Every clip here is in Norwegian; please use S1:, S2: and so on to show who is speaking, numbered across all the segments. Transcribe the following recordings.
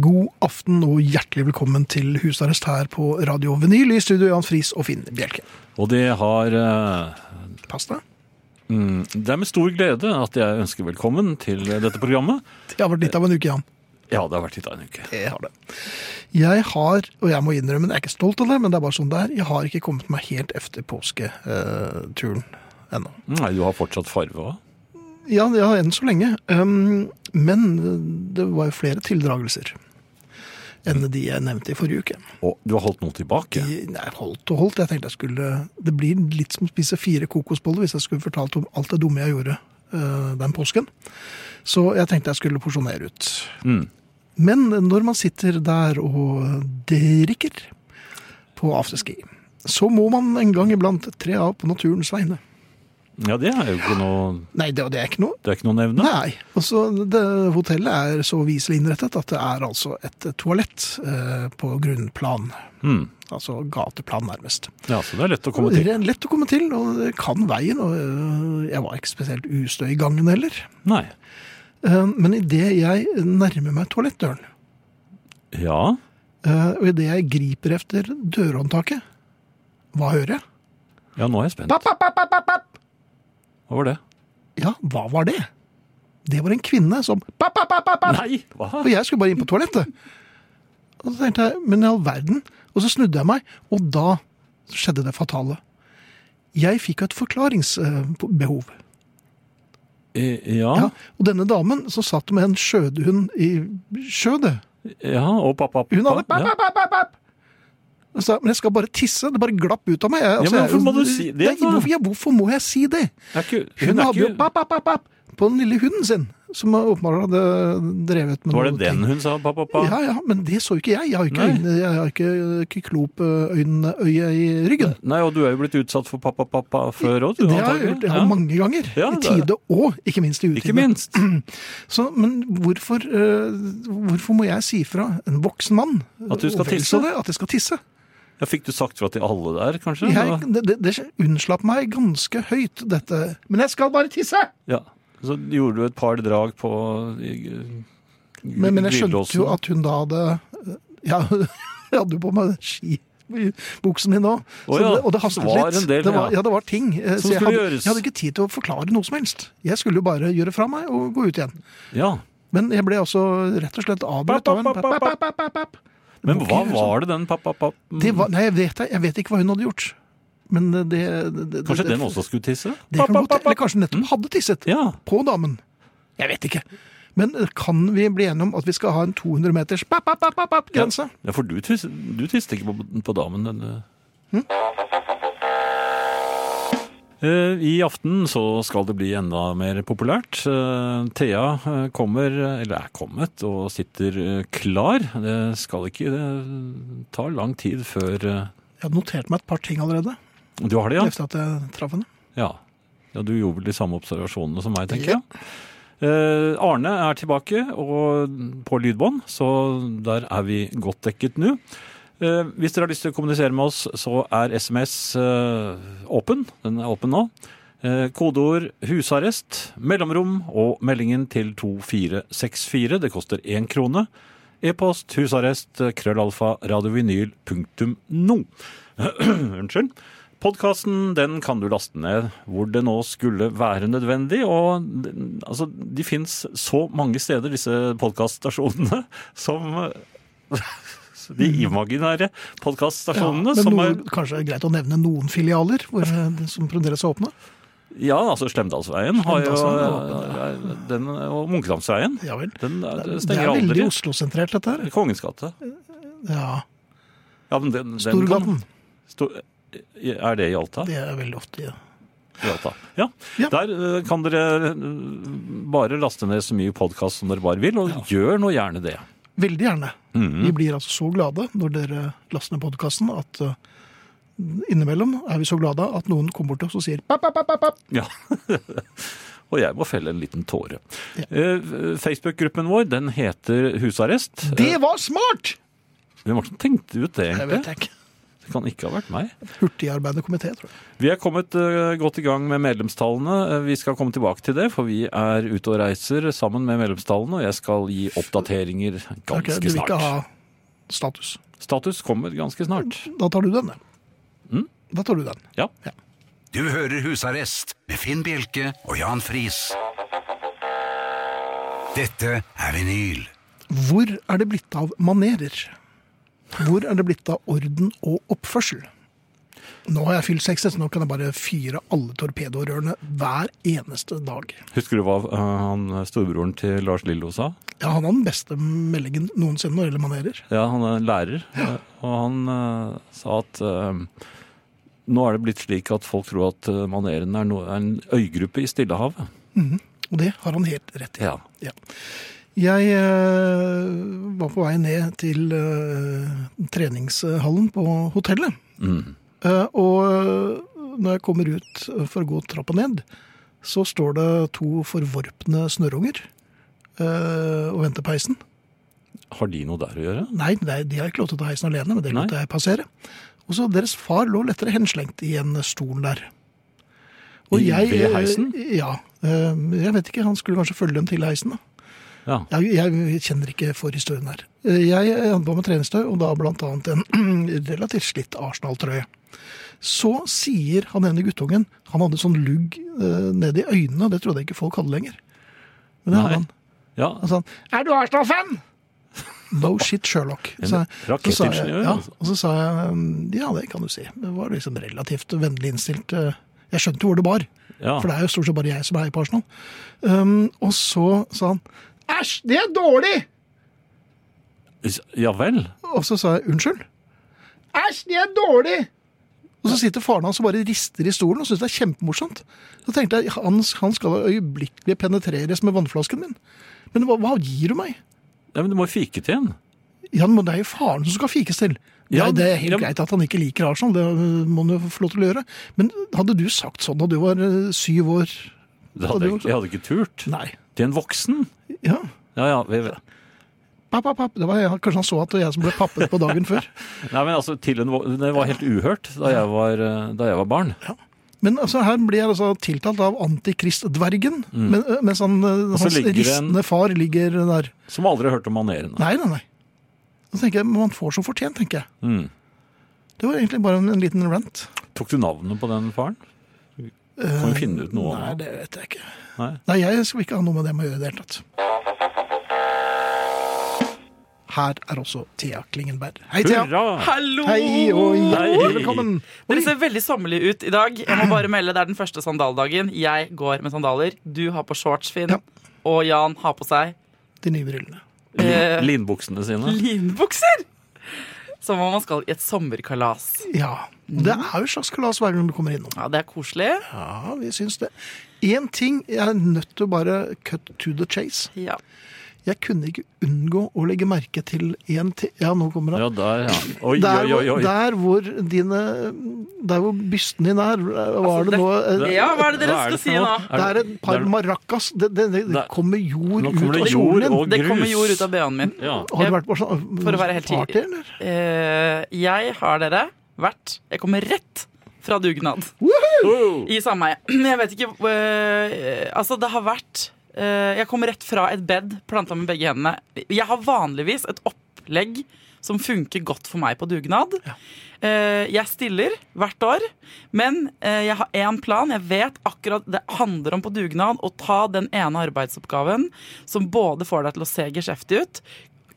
S1: God aften og hjertelig velkommen til husarrest her på Radio Vinyl i studio Jan Friis og Finn Bjelke.
S2: Og det, har, eh,
S1: Pass deg.
S2: det er med stor glede at jeg ønsker velkommen til dette programmet.
S1: Det har vært litt av en uke, Jan.
S2: Ja, det har vært litt av en uke.
S1: Det har det. Jeg har, og jeg må innrømme, jeg er ikke stolt av det, men det er bare sånn det er, jeg har ikke kommet meg helt efter påsketuren eh, ennå.
S2: Nei, du har fortsatt farve òg.
S1: Ja, det har enn så lenge. Um, men det var jo flere tildragelser enn de jeg nevnte i forrige uke.
S2: Og du har holdt noe tilbake.
S1: De, nei, holdt og holdt. Jeg tenkte jeg skulle Det blir litt som å spise fire kokosboller hvis jeg skulle fortalt om alt det dumme jeg gjorde eh, den påsken. Så jeg tenkte jeg skulle porsjonere ut.
S2: Mm.
S1: Men når man sitter der og drikker på afterski, så må man en gang iblant tre av på naturens vegne.
S2: Ja, det er jo ikke noe
S1: Nei, det, det er ikke noe
S2: Det er ikke noe å nevne.
S1: Nei. Og så det, hotellet er så viselig innrettet at det er altså et toalett eh, på grunnplan.
S2: Mm.
S1: Altså gateplan, nærmest.
S2: Ja, så det er lett å komme til.
S1: Ren- Lett å komme til, og det kan veien. Og eh, jeg var ikke spesielt ustø i gangen heller.
S2: Nei.
S1: Eh, men idet jeg nærmer meg toalettdøren,
S2: Ja.
S1: eh, og idet jeg griper efter dørhåndtaket, hva hører jeg?
S2: Ja, nå er jeg spent.
S1: Papp, papp, papp, papp, papp, papp.
S2: Hva var det?
S1: Ja, hva var det? Det var en kvinne som papp, papp, papp, papp, papp.
S2: Nei! Hva?
S1: Og jeg skulle bare inn på toalettet. Og så tenkte jeg, men i all verden. Og så snudde jeg meg, og da skjedde det fatale. Jeg fikk jo et forklaringsbehov.
S2: Eh, Ja.
S1: Ja. Og denne damen som satt med en skjødehund i skjødet,
S2: ja. Og pappa.
S1: hun hadde pap,
S2: Ja.
S1: pap, pap, pap, pap. Jeg sa, men jeg skal bare tisse. Det bare glapp ut av meg. Jeg, Altså,
S2: men
S1: jeg-
S2: hvorfor må du si det,
S1: Nei,
S2: da?
S1: hvorfor, ja, hvorfor må jeg si det?
S2: Er ikke,
S1: Hun,
S2: hun er
S1: hadde jo
S2: ikke
S1: pap, pap, pap, pap, på den lille hunden sin, som åpenbart hadde drevet med
S2: Var det
S1: noe
S2: den
S1: ting.
S2: hun sa? Pappa, pappa?
S1: Ja, ja, men det så jo ikke jeg. Jeg har ikke,
S2: Nei.
S1: øyne, jeg har ikke kyklopøye i ryggen.
S2: Nei, og du er jo blitt utsatt for pappa, pappa før òg, du.
S1: Det har jeg
S2: antagelig.
S1: gjort det har jeg mange ganger.
S2: Ja,
S1: I
S2: det er
S1: tide og ikke minst i utide.
S2: Ikke minst.
S1: Så, men hvorfor, eh, hvorfor må jeg si fra en voksen mann
S2: At du skal
S1: og vel
S2: tisse?
S1: så Det, at jeg skal tisse?
S2: Ja, fikk du sagt fra til alle der, kanskje?
S1: Jeg, det, det, det unnslapp meg ganske høyt, dette. Men jeg skal bare tisse!
S2: Ja. Så gjorde du et par drag på
S1: Men, men jeg skjønte jo at hun da hadde eh, Ja, jeg hadde jo på meg skibuksen min òg,
S2: Å ja,
S1: og det hastet
S2: det var
S1: litt.
S2: en del,
S1: det var,
S2: ja.
S1: ja, det var ting. eh, Så
S2: Som
S1: jeg
S2: skulle
S1: hadde,
S2: gjøres.
S1: jeg hadde ikke tid til å forklare noe som helst. Jeg skulle jo bare gjøre fra meg og gå ut igjen.
S2: Ja.
S1: Men jeg ble altså rett og slett avbrutt av en
S2: Papp, papp, papp, Men hva var det den pappa, pappa
S1: Det
S2: Mm.
S1: var, nei, jeg vet, jeg vet ikke hva hun hadde gjort. Men det, det, det
S2: Kanskje
S1: det,
S2: den også skulle tisse?
S1: Det kan
S2: Papp,
S1: godt,
S2: papp,
S1: eller
S2: papp.
S1: kanskje nettopp hadde tisset
S2: Mm. Ja.
S1: på damen. Jeg vet ikke. Men eh, kan vi bli enige om at vi skal ha en 200 meters papp, papp, papp, papp, papp, grense?
S2: Ja, for du tisse- du tiste ikke på, på damen. denne.
S1: Hm?
S2: Eh, I aften så skal det bli enda mer populært. Eh, Thea eh, kommer, eh, eller er kommet, og sitter eh, klar. Det skal ikke eh, ta lang tid før eh,
S1: Jeg hadde notert meg et par ting allerede.
S2: Du har det, ja?
S1: Efter at jeg traff henne.
S2: Ja. ja, du gjorde vel de samme observasjonene som meg, tenker jeg. Eh, Arne er tilbake og på lydbånd, så der er vi godt dekket nå. Eh, hvis dere har lyst til å kommunisere med oss, så er SMS eh, åpen. Den er åpen nå. Eh, kodeord 'husarrest', mellomrom og meldingen til 2464. Det koster én krone. E-post husarrest krøllalfa radiovinyl.no. Unnskyld. Podkasten den kan du laste ned hvor det nå skulle være nødvendig. og den- altså, De fins så mange steder, disse podkaststasjonene, som De imaginære podkaststasjonene.
S1: men
S2: som
S1: noe,
S2: er
S1: Kanskje det er greit å nevne noen filialer hvor, eh, som fremdeles er åpne?
S2: Ja, altså Slemdalsveien har jo
S1: Slemdalsveien er
S2: eh, den, Og Munkedamsveien.
S1: Ja vel.
S2: Den er-
S1: Det
S2: det
S1: det
S2: stenger
S1: er
S2: aldri.
S1: veldig Oslo-sentrert, dette her.
S2: Kongens gate.
S1: Ja.
S2: Ja, men den, den
S1: Storgaten.
S2: kan- Stor- Er det i Alta?
S1: Det er veldig ofte, ja.
S2: I Alta. Ja.
S1: Ja.
S2: Der eh, kan dere eh, bare laste ned så mye podkast som dere bare vil, og gjør nå gjerne det.
S1: Veldig gjerne. Vi blir altså så glade når dere laster ned podkasten at eh, innimellom er vi så glade at noen kommer bort til oss og sier papp, papp, papp, papp, papp.
S2: Ja. Og jeg må felle en liten tåre. Eh, Facebook-gruppen vår den heter Husarrest.
S1: Det var smart!
S2: Eh, Hvem var det som tenkte ut det,
S1: Jeg vet
S2: egentlig?
S1: jeg ikke.
S2: Det kan ikke ha vært meg.
S1: Hurtigarbeidende komité, tror jeg.
S2: Vi er kommet eh, godt i gang med medlemstallene. Eh, Vi skal komme tilbake til det, for vi er ute og reiser sammen med medlemstallene, og jeg skal gi oppdateringer
S1: Ok,
S2: ganske
S1: du vil ikke ha
S2: snart.
S1: status.
S2: Status kommer ganske snart.
S1: Da tar du den, ja. Da tar du den.
S2: Ja.
S3: Du hører Husarrest med Finn Bjelke og Jan Friis. Dette er vinyl.
S1: Hvor er det blitt av manerer? Hvor er det blitt av orden og oppførsel? Nå har jeg fylt 60, så nå kan jeg bare fyre alle torpedorørene hver eneste dag.
S2: Husker du hva eh, han storebroren til Lars Lillo sa?
S1: Ja, han har den beste meldingen noensinne når det gjelder manerer.
S2: Ja, han er lærer, eh, og han eh, sa at eh, nå er det blitt slik at folk tror at eh, maneren er, no, er en øygruppe i Stillehavet.
S1: Og det har han helt rett i.
S2: Ja.
S1: Ja. Jeg eh, var på vei ned til eh, treningshallen på hotellet. Eh, og eh, når jeg kommer ut for å gå trappa ned, så står det to forvorpne snørrunger eh, og venter på heisen.
S2: Har de noe der å gjøre?
S1: Nei, nei, de har ikke lov til å ta heisen alene, men det lot
S2: Nei.
S1: jeg passere. Og så deres far lå lettere henslengt i en stol der.
S2: I- ved heisen?
S1: eh, Ja. eh, Jeg vet ikke, han skulle kanskje følge dem til heisen. da.
S2: Ja.
S1: Jeg, jeg kjenner ikke forhistorien her. Eh, Jeg hadde på meg treningstøy, og da blant annet en relativt slitt Arsenal-trøye. Så sier han ene guttungen Han hadde sånn lugg eh, nede i øynene, og det trodde jeg ikke folk hadde lenger. Men det
S2: Nei.
S1: hadde han.
S2: ja.
S1: Han sa han, sånn, 'Er du Arsenal-fan?' No shit, Sherlock.
S2: En
S1: Så jeg- så sa jeg-
S2: rakettingeniør,
S1: Ja,
S2: altså.
S1: og så sa jeg mm, 'ja, det kan du si'. Det var liksom relativt vennlig innstilt. eh, Jeg skjønte hvor det bar,
S2: Ja.
S1: for det er jo stort sett bare jeg som heier på Arsenal. Um, og så sa han 'æsj, det er dårlig'!
S2: ja vel.
S1: Og så sa jeg 'unnskyld'. 'Æsj, det er dårlig'! Og så sitter faren hans og bare rister i stolen og syns det er kjempemorsomt. Så tenkte jeg han, han skal øyeblikkelig penetreres med vannflasken min. Men hva, hva gir du meg?
S2: Ja, men du må jo fike til en.
S1: Ja, men det er jo faren som skal fikes til.
S2: Ja,
S1: Nei, det er helt
S2: ja, men-
S1: greit at han ikke liker Arsenal, det øh, må han jo få lov til å gjøre. Men hadde du sagt sånn da du var øh, syv år?
S2: Det hadde jeg,
S1: Hadde du
S2: ikke- jeg hadde ikke turt.
S1: Nei.
S2: Til en voksen?
S1: Ja.
S2: Ja, ja. Vi, nei,
S1: Papp, papp, papp. Det var jeg, kanskje han så at det var jeg som ble pappet på dagen før.
S2: men altså, til en, vok- det var helt uhørt da jeg var, eh, da jeg var barn.
S1: Men altså, her blir jeg altså tiltalt av antikristdvergen, men, øh, mens han, øh,
S2: Mm. så
S1: hans
S2: ligger det en-
S1: ristende far ligger der.
S2: Som aldri hørte om manerene.
S1: Nei, nei, nei. Da tenker jeg, men Man får som fortjent, tenker jeg.
S2: Mm.
S1: Det var egentlig bare en, en liten rant.
S2: Tok du navnet på den faren? Kan vi finne ut noe
S1: Nei,
S2: om det?
S1: det vet jeg ikke.
S2: Nei.
S1: Nei, jeg skal ikke ha noe med det med å gjøre i det hele tatt. Her er også Thea Klingenberg. Hei, Thea.
S2: Hurra!
S4: Hallo!
S1: Hei og
S2: Hei.
S1: hjertelig velkommen.
S4: Dere ser veldig sommerlige ut i dag. Jeg må bare melde, Det er den første sandaldagen. Jeg går med sandaler. Du har på shorts, Finn.
S1: Ja.
S4: Og Jan har på seg
S1: De nye brillene.
S4: eh,
S2: Linbuksene sine.
S4: linbukser! Som om man skal i et sommerkalas.
S1: Ja. Det er jo et slags kalas hver gang du kommer innom.
S4: Ja, Det er koselig.
S1: Ja, vi syns det. Én ting jeg er nødt til å bare cut to the chase.
S4: Ja.
S1: Jeg kunne ikke unngå å legge merke til én ting Ja, nå kommer han.
S2: Ja, der, ja. Oi,
S1: Der,
S2: oi, oi,
S1: hvor-
S2: oi.
S1: der hvor dine Der hvor bysten din er, var det
S4: det-
S1: nå eh,
S4: ja, hva er det dere
S2: Hva er
S4: skal
S2: det for
S4: si nå?
S2: noe?
S1: Det er
S2: Er
S1: et par
S2: det-
S1: maracas. Det, det, det, det
S2: Der-
S1: kommer jord
S2: Nå
S1: ut
S2: kommer
S1: av
S2: det
S1: jorden
S2: jord
S1: din.
S2: og grus.
S4: Det kommer jord ut av BH-en min.
S2: ja.
S1: Har du vært på sånn
S4: For å være helt
S1: party,
S4: tydelig.
S1: eller?
S4: Eh, jeg har dere vært Jeg kommer rett fra dugnad
S2: Wow!
S4: i sameie. Jeg vet ikke eh, Altså, det har vært eh, Jeg kom rett fra et bed planta med begge hendene. Jeg har vanligvis et opplegg som funker godt for meg på dugnad. Eh, jeg stiller hvert år, men eh, jeg har én plan. Jeg vet akkurat Det handler om på dugnad å ta den ene arbeidsoppgaven som både får deg til å se geskjeftig ut,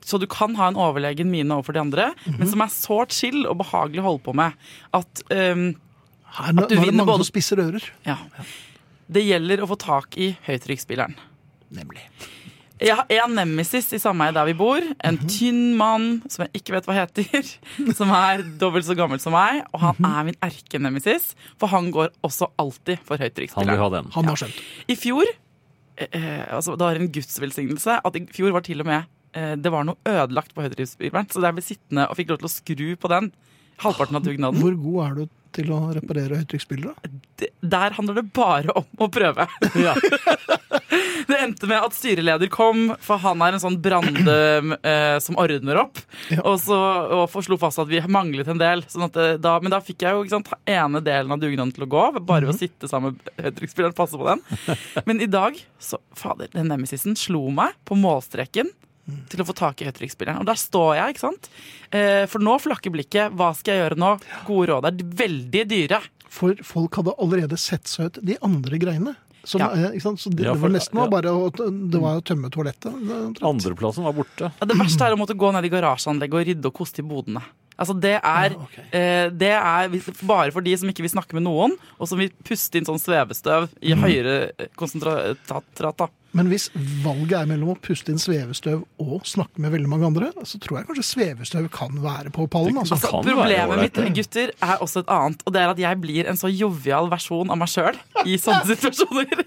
S4: så du kan ha en overlegen mine overfor de andre, men som er sårt chill og behagelig å holde på med. At ehm,
S1: Her, nå,
S4: du
S1: nå er det
S4: vinner
S1: mange
S4: både-
S1: som spisser ører.
S4: ja, det gjelder å få tak i høytrykksspilleren.
S1: Nemlig.
S4: Jeg har en nemesis i sameiet der vi bor. En tynn mann som jeg ikke vet hva heter. Som er dobbelt så gammel som meg. Og han er min erkenemesis, for han går også alltid for
S2: Han vil
S4: høytrykksspilleren.
S2: ha den.
S1: Han har skjønt.
S4: I fjor eh, eh, altså, Det var en gudsvelsignelse at i fjor var til og med eh, det var noe ødelagt på høytrykksspilleren, så jeg ble sittende og fikk lov til å skru på den. Halvparten av dugnaden.
S1: Hvor god er du til å reparere høytrykksspillere?
S4: D- Der handler det bare om å prøve.
S2: Ja.
S4: Det endte med at styreleder kom, for han er en sånn brande eh, som ordner opp. Og så og for- slo fast at vi manglet en del. Sånn at det, da, men da fikk jeg jo ikke sant, ene delen av dugnaden til å gå av. Bare ved å sitte sammen med høytrykksspilleren og passe på den. Men i dag så, Fader, den nemesisen slo meg på målstreken til å få tak i høytrykksspilleren. Og der står jeg, ikke sant. Eh, for nå flakker blikket. Hva skal jeg gjøre nå? Gode råd er veldig dyre.
S1: For folk hadde allerede sett seg ut de andre greiene. Som,
S4: Ja.
S1: eh, ikke sant? Så det,
S2: Ja,
S1: det var
S2: for-
S1: nesten
S2: ja.
S1: bare å, det var å tømme toalettet. omtrent.
S2: Andreplassen var borte.
S4: Ja, det verste er å måtte gå ned i garasjeanlegget og rydde og koste i bodene. Altså det er,
S1: Ja, ok.
S4: eh, det er hvis- bare for de som ikke vil snakke med noen, og som vil puste inn sånn svevestøv i
S1: Mm.
S4: høyere eh, konsentrat. Da.
S1: Men hvis valget er mellom å puste inn svevestøv og snakke med veldig mange andre, så tror jeg kanskje svevestøv kan være på pallen. Altså.
S4: sånn
S2: Det kan være
S4: Problemet mitt
S2: ålreit.
S4: gutter, er også et annet, og det er at jeg blir en så jovial versjon av meg sjøl i sånne situasjoner.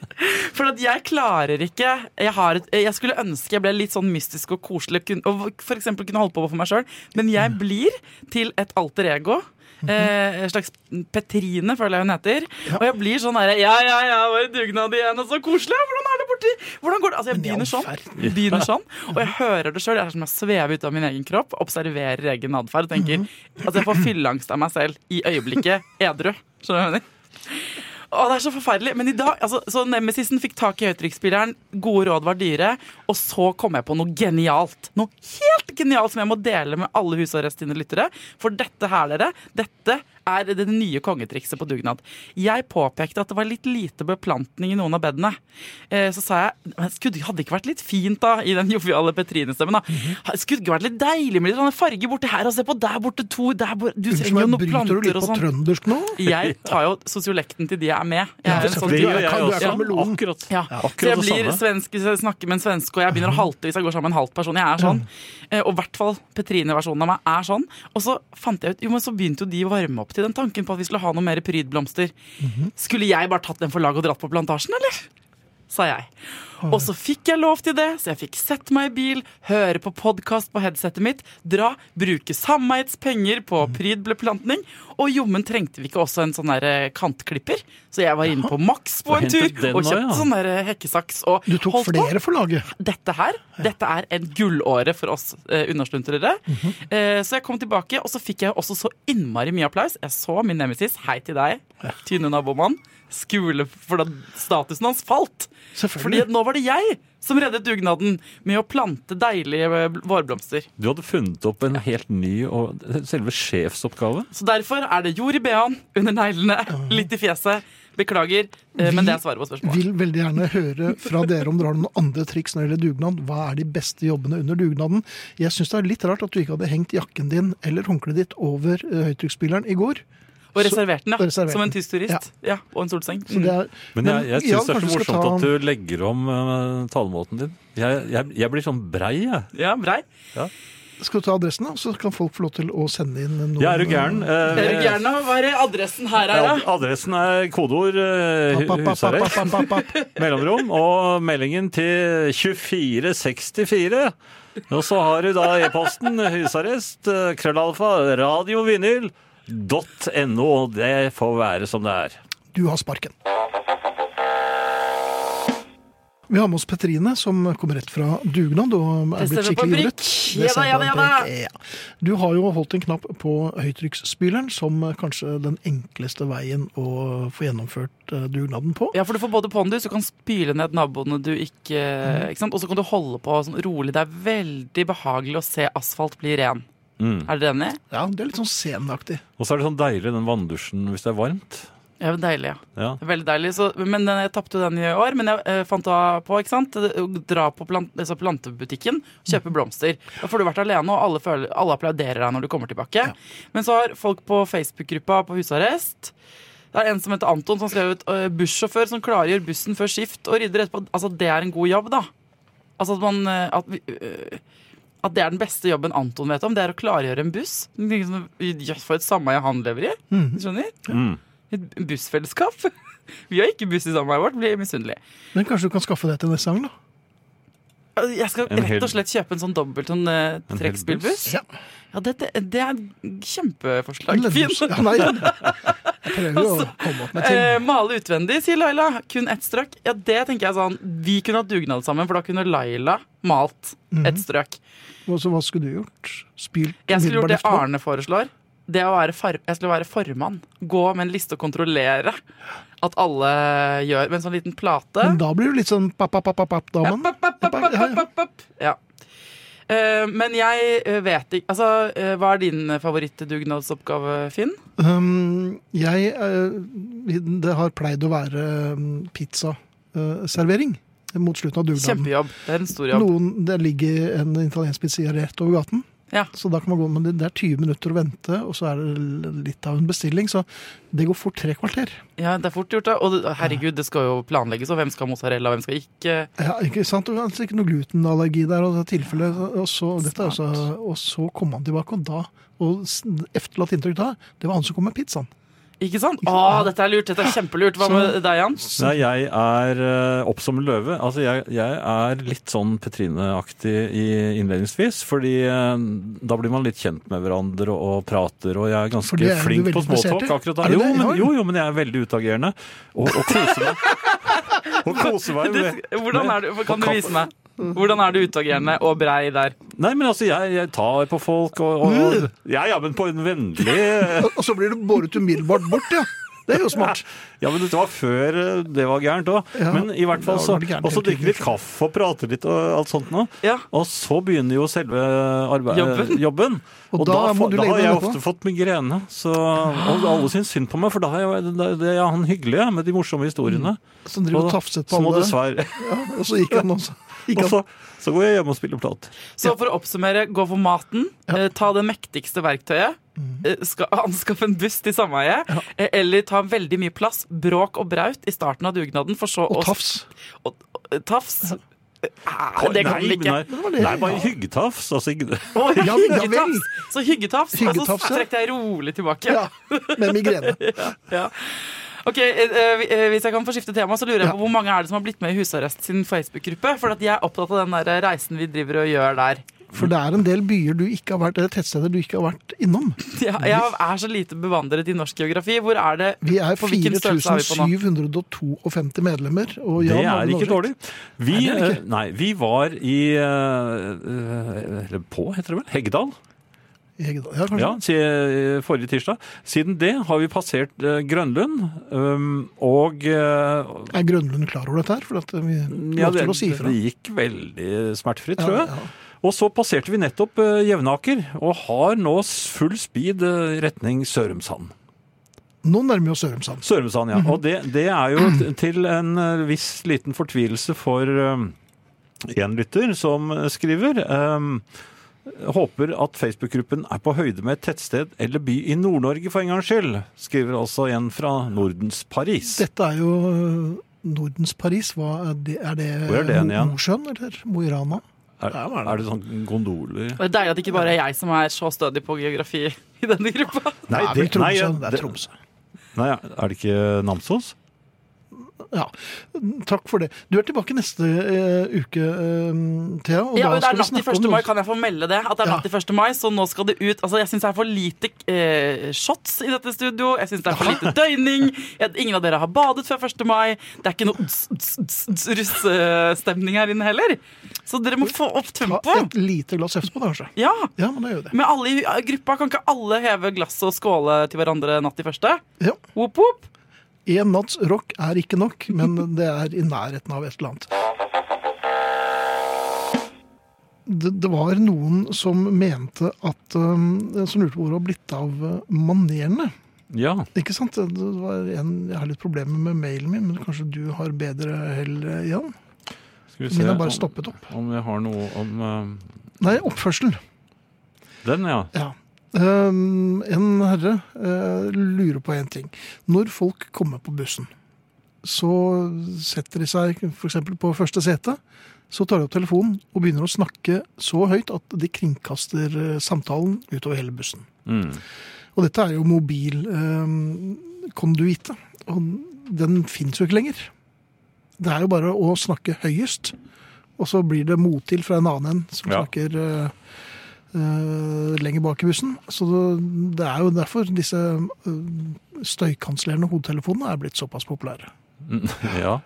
S4: For at jeg klarer ikke jeg, har et, jeg skulle ønske jeg ble litt sånn mystisk og koselig kun- og f.eks. kunne holde på for meg sjøl, men jeg
S2: Mm.
S4: blir til et alter ego.
S2: Mhm.
S4: Eh, en slags Petrine, føler jeg hun heter. Og jeg blir sånn derre Ja, ja, ja, var i dugnad igjen, og så koselig! Hvordan er det borti Hvordan går det? Altså,
S1: i
S4: jeg
S1: all
S4: begynner sånn. Begynner sånn Og jeg hører det sjøl. Jeg er som jeg svever ut av min egen kropp, observerer egen atferd og tenker Altså, jeg får fylleangst av meg selv i øyeblikket edru. Skjønner du hva jeg mener? Å, det er så forferdelig. Men i dag, altså, så Nemesisen fikk tak i høytrykksspilleren, gode råd var dyre, og så kom jeg på noe genialt. Noe helt genialt som jeg må dele med alle husarrestine lyttere. For dette her, dere, dette er det nye kongetrikset på dugnad. Jeg påpekte at det var litt lite beplantning i noen av bedene. Eh, så sa jeg men skulle, hadde det ikke vært litt fint da, i den joviale Petrine-stemmen, da. Skulle det ikke vært litt deilig med litt sånn farge borti her, og se på der borte to der borte. Du
S1: Unnskyld
S4: trenger jo
S1: meg,
S4: noen
S1: bryter du
S4: planter
S1: litt
S4: og
S1: på
S4: sånn.
S1: trøndersk nå?
S4: Jeg tar jo sosiolekten til de jeg er med. Jeg
S1: Ja,
S4: er en
S1: det
S4: sånn
S2: Det
S4: type.
S2: gjør
S1: Du er
S2: jeg
S1: kam- du er
S2: også.
S1: kameleon.
S2: Akkurat,
S4: Ja. Så jeg
S2: akkurat det
S4: blir
S2: samme.
S4: svensk, så jeg snakker med en svenske, og jeg begynner å halte hvis jeg går sammen med en halvt person. Jeg er sånn.
S2: Mm.
S4: Eh, Og i hvert fall Petrine-versjonen av meg er sånn. Og så fant jeg ut, jo, men så begynte jo de å varme opp til den tanken på at vi skulle ha noe mer prydblomster.
S2: Mhm.
S4: Skulle jeg bare tatt den for lag og dratt på plantasjen, eller? Sa jeg. Og så fikk jeg lov til det, så jeg fikk sette meg i bil, høre på podkast på headsetet mitt, dra, bruke sameiets penger på
S2: Mm.
S4: prydbeplantning, og jommen trengte vi ikke også en sånn der eh, kantklipper, så jeg var inne på Max på
S2: Så
S4: en tur
S2: hentet den
S4: og
S2: også,
S4: kjøpte
S2: ja.
S4: sånn der hekkesaks og
S1: Du tok
S4: holdt på
S1: flere for laget.
S4: dette her, dette er en gullåre for oss eh, unnasluntrere.
S1: Mhm.
S4: eh, så jeg kom tilbake, og så fikk jeg også så innmari mye applaus. Jeg så min nemesis, hei til deg, tynne nabomann, skule for da statusen hans falt. Fordi at
S1: Selvfølgelig.
S4: nå var det jeg som reddet dugnaden med å plante deilige eh, bl- vårblomster.
S2: Du hadde funnet opp en helt ny og selve sjefsoppgave.
S4: Så derfor er det jord i behåen, under neglene, litt i fjeset. Beklager, eh, men det er svaret på spørsmålet.
S1: Vil veldig gjerne høre fra dere om dere har noen andre triks når det gjelder dugnad. Hva er de beste jobbene under dugnaden? Jeg syns det er litt rart at du ikke hadde hengt jakken din eller håndkleet ditt over eh, høytrykksspilleren i går.
S4: Og reservert den,
S1: og
S4: ja.
S1: reservert
S4: Som en
S1: den.
S4: tysk turist. Ja, og en solseng.
S1: Så det
S4: Mm.
S1: er,
S2: Men jeg, jeg
S1: ja,
S2: syns det
S1: kanskje
S2: er så
S1: vi skal
S2: morsomt
S1: ta-
S2: at du legger om eh, talemåten din. Jeg, jeg, jeg blir sånn brei, jeg.
S4: Ja, brei.
S1: Skal du ta adressen, da? Så kan folk få lov til å sende inn noen
S2: Jeg er jo gæren. eh,
S4: Er du gæren nå? Hva er adressen her, er, da?
S2: Ad- Adressen er kodeord eh,
S1: Papp,
S2: hu-
S1: papp, papp,
S2: husarrest,
S1: papp, papp, papp, papp.
S2: mellomrom, og meldingen til 2464. Og så har du da e-posten husarrest, eh, krøllalfa, radiovinyl.no. Det får være som det er.
S1: Du har sparken. Vi har med oss Petrine, som kommer rett fra dugnad og er blitt
S4: stemmer på
S1: skikkelig
S4: prikk.
S1: ivret.
S4: Ja da,
S1: stemmer
S4: ja
S1: på en
S4: da, ja da.
S1: prikk. Ja. Du har jo holdt en knapp på høytrykksspyleren som kanskje den enkleste veien å få gjennomført eh, dugnaden på.
S4: Ja, for du får både pondus, du kan spyle ned naboene du ikke Ikke sant? Og så kan du holde på sånn rolig. Det er veldig behagelig å se asfalt bli ren.
S2: Mm.
S4: Er dere enig?
S1: Ja, Det er litt sånn scenaktig.
S2: Og så er det sånn deilig den vanndusjen hvis det er varmt.
S4: Ja, men deilig, ja.
S2: Ja.
S4: Veldig deilig. Så, men den- jeg tapte jo den i år, men jeg eh, fant da på, ikke sant Å Dra på plant, altså plantebutikken, kjøpe blomster. Da får du vært alene, og alle, føler, alle applauderer deg når du kommer tilbake. Men så har folk på Facebook-gruppa på husarrest det er en som heter Anton som skrev ut eh, bussjåfør som klargjør bussen før skift og rydder etterpå. Altså, det er en god jobb, da. Altså at man eh, at, vi, eh, at det er den beste jobben Anton vet om, det er å klargjøre en buss. Liksom, Jøss, for et sameie han lever i.
S1: Mhm.
S4: Skjønner?
S2: Mm.
S4: Et bussfellesskap. Vi har ikke buss i sameiet vårt, blir misunnelige.
S1: Men kanskje du kan skaffe det til neste gang, da?
S4: Altså, Jeg skal
S2: En hel-
S4: rett og slett kjøpe en sånn dobbelt sånn eh,
S2: hel
S4: trekkspillbuss.
S2: buss?
S1: Ja.
S4: Ja, det, det, det er et kjempeforslag. Fint.
S1: Ja, nei, jeg prøver jo å
S4: Altså,
S1: komme opp med ting.
S4: Eh, male utvendig, sier Laila. Kun ett strøk. Ja, det tenker jeg sånn Vi kunne hatt dugnad sammen, for da kunne Laila malt ett strøk.
S1: Og så hva skulle du gjort? Spylt
S4: Jeg skulle gjort det
S1: umiddelbart
S4: Arne foreslår. Det å være far, jeg skulle være formann. Gå med en liste og kontrollere at alle gjør Med en sånn liten plate.
S1: Men da blir du litt sånn papp-papp-papp-damen.
S4: App, app, app, app,
S1: Ja,
S4: app,
S1: ja.
S4: app, app. Ja. Eh, men jeg eh, vet ikke Altså, eh, hva er din favorittdugnadsoppgave, Finn?
S1: Um, jeg eh, Det har pleid å være um, pizzaservering eh, mot slutten av dugnaden.
S4: Kjempejobb. Det er en stor jobb.
S1: Noen, det ligger en italiensk pizzeria rett over gaten,
S4: Ja.
S1: så da kan man gå, men det, det er 20 minutter å vente, og så er det litt av en bestilling, så det går fort tre kvarter.
S4: Ja, det er fort gjort, da. Og det- herregud, det skal jo planlegges, og hvem skal ha mozzarella, og hvem skal ikke?
S1: Ja, ikke sant? Det er altså ikke noe glutenallergi der, og det er tilfelle, og så, dette, er altså,
S4: Smart.
S1: og så kom han tilbake, og da, og s- efterlatt inntrykk da, det var han som kom med pizzaen.
S4: Ikke sant? Å, dette er lurt. Dette er kjempelurt. Hva med deg, Jan?
S2: Nei, jeg er eh, opp som en løve. Altså, jeg, jeg er litt sånn Petrine-aktig i- innledningsvis, fordi eh, da blir man litt kjent med hverandre og, og prater, og jeg er
S1: For
S2: ganske
S1: det er du
S2: flink på
S1: veldig interessert
S2: småtalk
S1: i.
S2: akkurat
S1: Er
S2: da.
S1: du
S2: Jo,
S1: det?
S2: men,
S1: Oi.
S2: jo, jo, men jeg er veldig utagerende og, og koser meg. Og koser meg med-
S4: Det- Hvordan er du? Kan du vise meg? Hvordan er du utagerende og brei der?
S2: Nei, men altså, jeg, jeg tar på folk og, og ja, ja, men på en vennlig eh,
S1: Og, og så blir du båret umiddelbart bort, ja. Det er jo smart.
S2: Ja, men det var før eh, det var gærent òg.
S1: Ja,
S2: men i hvert fall
S1: da
S2: så
S1: var det gærent
S2: Og så
S1: helt
S2: drikke litt kaffe og prate litt og alt sånt nå.
S4: Ja.
S2: Og så begynner jo selve arbeid,
S4: Jobben.
S2: jobben. jobben.
S1: Og da
S2: fa-
S1: må du legge
S2: har
S1: deg
S2: jeg
S1: nedpå.
S2: ofte fått migrene. Så, og alle syns synd på meg, for da er jeg, det, det er han hyggelige med de morsomme historiene.
S1: Så han driver og
S2: da-
S1: tafset på
S2: så må
S1: alle.
S2: du svare.
S1: Ja, og så gikk han også. Gikk
S2: Og
S1: han.
S2: så, så går jeg hjem og spiller plater.
S4: Så for å oppsummere, gå for maten. eh, Ta det mektigste verktøyet.
S1: Mhm.
S4: eh, Ska, anskaff en buss til sameiet. eh, Eller ta veldig mye plass, bråk og braut i starten av dugnaden, for så
S1: Og
S4: å
S1: tafs.
S4: og- og- Tafs. Eh, Det kan vi
S2: Nei,
S4: ikke.
S2: men
S1: var
S2: Nei,
S1: det.
S2: nei, bare hyggetafs. Altså, ikke-
S4: Å,
S1: Ja, ja vel.
S4: hyggetafs. Så hyggetafs. Og
S1: Hyggetafs,
S4: så
S1: ja.
S4: trekk deg rolig tilbake.
S1: Ja, med migrene.
S4: Ja. Ok, eh, vi- eh, Hvis jeg kan få skifte tema, så lurer jeg
S1: Ja.
S4: på hvor mange er det som har blitt med i Husarrest sin Facebook-gruppe? For at jeg er opptatt av den der reisen vi driver og gjør der.
S1: For det er en del byer du ikke har vært, eller tettsteder du ikke har vært innom.
S4: Jeg, jeg er så lite bevandret i norsk geografi. Hvor er det
S1: Vi er
S4: På hvilken størrelse er vi på nå?
S1: 4752 medlemmer. Og
S2: Det
S1: Jan har
S2: er
S1: en
S2: ikke
S1: oversikt.
S2: dårlig. Vi,
S1: Nei, det er det
S2: eh, nei, vi var i eh, eh, Eller på, heter det vel? Heggedal.
S1: Hegedal. Ja, kanskje.
S2: Ja, si- eh, forrige tirsdag. Siden det har vi passert eh, Grønlund. um, Og eh,
S1: Er Grønlund klar over dette her? For at eh, vi
S2: ja,
S1: det,
S2: det,
S1: å si ifra.
S2: det gikk veldig smertefritt,
S1: Ja,
S2: tror jeg.
S1: ja.
S2: Og så passerte vi nettopp eh, Jevnaker, og har nå s- full speed eh, retning Sørumsand.
S1: Nå nærmer vi oss Sørumsand.
S2: Sørumsand, ja. Og det, det er jo t- til en eh, viss liten fortvilelse for én lytter som skriver ehm, Håper at Facebook-gruppen er på høyde med et tettsted eller by i Nord-Norge for en gangs skyld, skriver altså en fra Nordens Paris.
S1: Dette er jo øh, Nordens Paris. Hva er det, er det,
S2: Hvor er det igjen?
S1: Mo- Mosjøen eller Mo i Rana?
S2: Er, er det sånn gondoler
S4: Og Det er deilig at det ikke bare er jeg som er så stødig på geografi i denne gruppa.
S2: Nei,
S1: det, er vel
S2: nei,
S1: Tromsø. det er
S2: det-
S1: Tromsø.
S2: nei, er det ikke Namsos?
S1: Ja. Takk for det. Du er tilbake neste eh, uke, eh, Thea. Og
S4: Ja,
S1: da
S4: men det
S1: skal vi
S4: er natt til
S1: snakke om
S4: 1.
S1: noe-
S4: mai, kan jeg få melde det? At det er
S1: Ja.
S4: natt til 1. mai, så nå skal det ut. Altså, Jeg syns det er for lite eh, shots i dette studio. Jeg syns det er for lite døgning. Jeg, ingen av dere har badet før 1. mai. Det er ikke noe uts, uts, uts, uts, russestemning her inne heller. Så dere må få opp
S1: Ta et
S4: tempoet.
S1: lite glass etterpå, da, kanskje.
S4: Ja.
S1: Ja, men da gjør vi det.
S4: Med alle i eh, gruppa kan ikke alle heve glasset og skåle til hverandre natt til første?
S1: Ja.
S4: Whoop, whoop.
S1: Én natts rock er ikke nok, men det er i nærheten av et eller annet. Det, det var noen som mente at um, Som lurte på hvor det var blitt av uh, manerene.
S2: Ja.
S1: Ikke sant? Det var en, jeg har litt problemer med mailen min, men kanskje du har bedre hell, eh, Jan?
S2: Skal vi
S1: Min har
S2: om-
S1: bare stoppet opp.
S2: Om jeg har noe om eh,
S1: Nei, oppførsel.
S2: den, ja.
S1: Ja. Um, en herre eh, lurer på en ting. Når folk kommer på bussen, så setter de seg f.eks. på første sete, Så tar de opp telefonen og begynner å snakke så høyt at de kringkaster eh, samtalen utover hele bussen.
S2: Mm.
S1: Og dette er jo mobilkonduite, og den fins jo ikke lenger. Det er jo bare å snakke høyest, og så blir det mottil fra en annen en som
S2: Ja.
S1: snakker eh, eh, lenger bak i bussen. Så det er jo derfor disse eh, støykansellerende hodetelefonene er blitt såpass populære.
S2: Ja.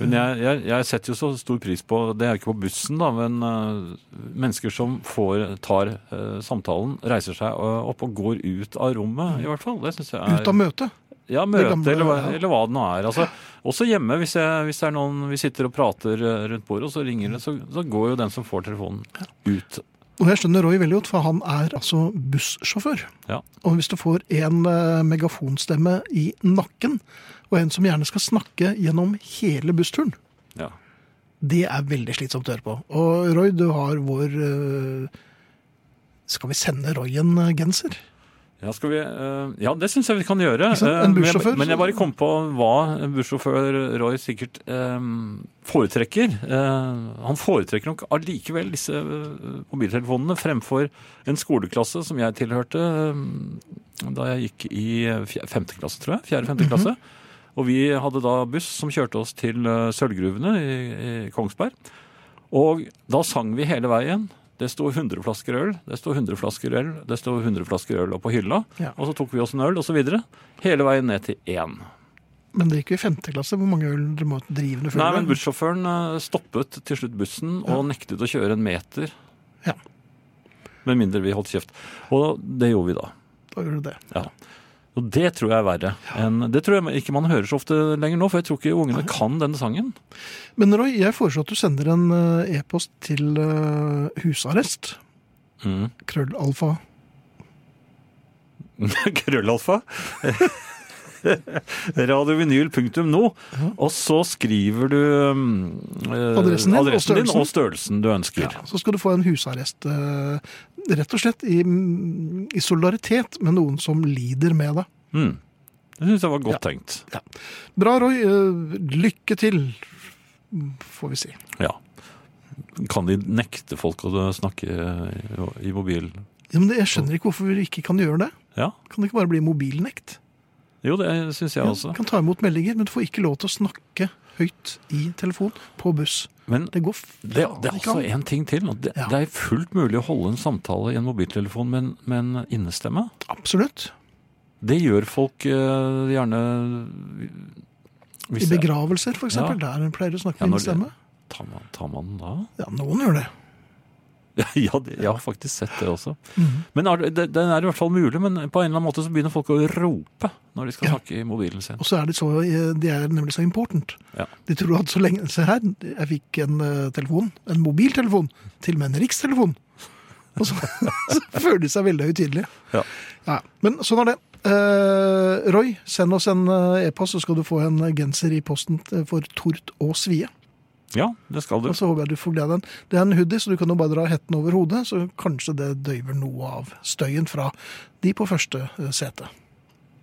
S2: Men jeg, jeg, jeg setter jo så stor pris på, det er ikke på bussen da, men øh, mennesker som får, tar øh, samtalen, reiser seg øh, opp og går ut av rommet, i hvert fall. Det synes jeg er...
S1: Ut av møtet.
S2: Ja, møte,
S1: gamle-
S2: eller, hva-
S1: ja.
S2: eller hva det nå er. Altså, også hjemme, hvis, jeg, hvis det er noen vi sitter og prater eh, rundt bordet, og så ringer det, så, så går jo den som får telefonen, ut.
S1: Og jeg skjønner Roy veldig godt, for han er altså bussjåfør.
S2: Ja.
S1: Og hvis du får en eh, megafonstemme i nakken, og en som gjerne skal snakke gjennom hele bussturen,
S2: ja.
S1: det er veldig slitsomt å høre på. Og Roy, du har vår eh, Skal vi sende Roy en eh, genser?
S2: Ja, skal vi, eh, ja, det syns jeg vi kan gjøre.
S1: Ikke sant? En
S2: Eh, men jeg-
S1: bussjåfør
S2: Men jeg
S1: som-
S2: bare kom på hva en bussjåfør Roy sikkert eh, foretrekker. Eh, han foretrekker nok allikevel disse eh, mobiltelefonene fremfor en skoleklasse som jeg tilhørte eh, da jeg gikk i eh, fje- femte klasse, tror jeg.
S1: Mhm.
S2: Fjerde-femte klasse. Og vi hadde da buss som kjørte oss til eh, Sølvgruvene i, i Kongsberg. Og da sang vi hele veien. Det sto 100 flasker øl, det sto 100 flasker øl, det sto 100 flasker øl oppå hylla.
S1: Ja.
S2: Og så tok vi oss en øl, osv. Hele veien ned til én.
S1: Men det gikk jo i femte klasse. Hvor mange øl dere må drive det
S2: Nei, men bussjåføren eh, stoppet til slutt bussen og nektet å kjøre en meter.
S1: Ja.
S2: Med mindre vi holdt kjeft. Og det gjorde vi da.
S1: Da gjør du det.
S2: Ja. Og det tror jeg er verre. enn- det tror jeg ikke man hører så ofte lenger nå, for jeg tror ikke ungene kan denne sangen.
S1: Men Roy, jeg foreslår at du sender en eh, e-post til eh, husarrest.
S2: Mm.
S1: Krøllalfa.
S2: Krøllalfa. Radiovinyl.no. Og så skriver du mm, eh,
S1: Adressen din og
S2: adressen din
S1: størrelsen.
S2: og størrelsen du ønsker.
S1: Så skal du få en husarrest. eh, Rett og slett i, mm, i solidaritet med noen som lider med deg.
S2: Mm. Det syns jeg var godt tenkt.
S1: Bra, Roy. Eh, Lykke til, får vi si.
S2: Ja. Kan de nekte folk å snakke eh, i mobil?
S1: Ja, men det- Jeg skjønner ikke hvorfor vi ikke kan gjøre det.
S2: Ja.
S1: Kan det ikke bare bli mobilnekt?
S2: Jo, det syns jeg også.
S1: Du kan ta imot meldinger, men du får ikke lov til å snakke høyt i telefon på buss.
S2: Men
S1: Det går f-
S2: det, det er altså også en ting til. og Det,
S1: Ja.
S2: det er fullt mulig å holde en samtale i en mobiltelefon med en, med en innestemme.
S1: Absolutt.
S2: Det gjør folk eh, gjerne
S1: I
S2: hvis det-
S1: begravelser, for eksempel. Der pleier du å snakke
S2: Ja,
S1: med
S2: når-
S1: din stemme.
S2: Tar man, tar man den da?
S1: Ja, noen gjør det.
S2: ja, det, jeg har faktisk sett det også. Men er, det, den er i hvert fall mulig, men på en eller annen måte så begynner folk å rope når de skal
S1: Ja.
S2: snakke i mobilen sin.
S1: Og så er det så, de er nemlig så important.
S2: Ja.
S1: De tror at så lenge Se her, jeg fikk en eh, telefon, en mobiltelefon, til og med en rikstelefon. Og så, så føler de seg veldig høytidelige.
S2: Ja.
S1: Ja, men sånn er det. Eh, Roy, send oss en eh, e-post, så skal du få en genser i posten t- for tort og svie.
S2: Ja, det skal du.
S1: Og så håper jeg du får glede av den. Det er en hoodie, så du kan jo bare dra hetten over hodet, så kanskje det døyver noe av støyen fra de på første eh, sete.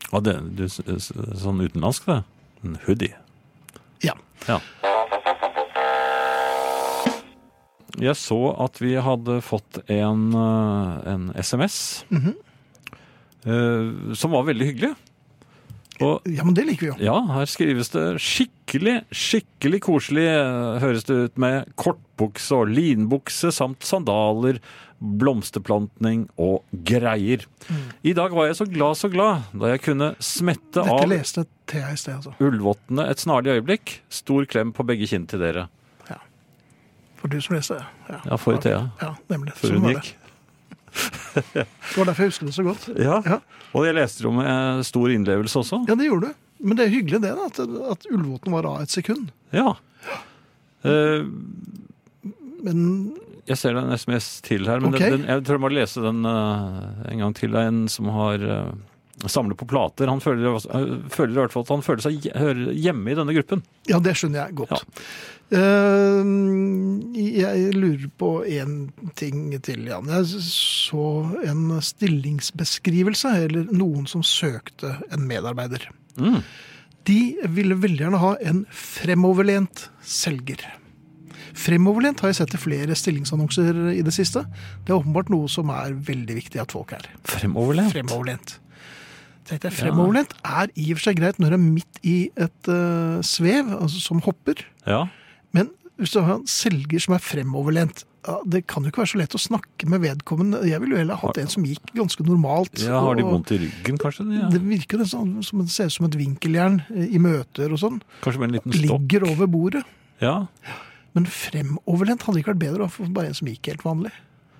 S2: Ja, det, du, s- s- sånn utenlandsk, det. En hoodie.
S1: Ja.
S2: Ja. Jeg så at vi hadde fått en, eh, en SMS eh, som var veldig hyggelig. Og
S1: ja, men det liker vi jo.
S2: ja, her skrives det skikkelig, skikkelig koselig, eh, høres det ut med kortbukse og linbukse samt sandaler, blomsterplantning og greier.
S1: Mm.
S2: I dag var jeg så glad, så glad, da jeg kunne smette
S1: Dette
S2: av
S1: leste Thea i sted, altså.
S2: Ullvottene et snarlig øyeblikk. Stor klem på begge kinn til dere.
S1: For du som leste det.
S2: Ja, for Thea.
S1: Ja, nemlig.
S2: Før
S1: Sånn
S2: hun
S1: var
S2: gikk.
S1: Det. det var derfor jeg husker det så godt.
S2: Ja.
S1: Ja.
S2: Og jeg leste det om eh, stor innlevelse også.
S1: Ja, det gjorde du. Men det er hyggelig det, da, at, at Ullvåten var av et sekund.
S2: Ja. Eh,
S1: Men
S2: jeg ser det er en SMS til her, men
S1: Ok.
S2: den, den, jeg tror jeg må lese den eh, en gang til. Det er en som har eh, samler på plater. Han føler, også- eh, føler i hvert fall at han føler seg hje- hører hjemme i denne gruppen.
S1: ja, det skjønner jeg godt. Eh, jeg lurer på én ting til, Jan. Jeg så en stillingsbeskrivelse, eller noen som søkte en medarbeider.
S2: Mm.
S1: De ville veldig gjerne ha en fremoverlent selger. Fremoverlent har jeg sett i flere stillingsannonser i det siste. Det er åpenbart noe som er veldig viktig at folk er.
S2: Fremoverlent.
S1: Fremoverlent. Tenkte jeg, fremoverlent er i og for seg greit når du er midt i et eh, svev, altså som hopper.
S2: Ja.
S1: Men hvis du har en selger som er fremoverlent, ja, det kan jo ikke være så lett å snakke med vedkommende. Jeg ville jo heller hatt en som gikk ganske normalt.
S2: ja, har de
S1: og-
S2: vondt i ryggen, kanskje? de, Ja.
S1: Det virker jo nesten som det ser ut som et vinkeljern eh, i møter og sånn.
S2: Kanskje med en liten stokk?
S1: Ligger over bordet.
S2: Ja.
S1: Men fremoverlent hadde ikke vært bedre å få bare en som gikk helt vanlig.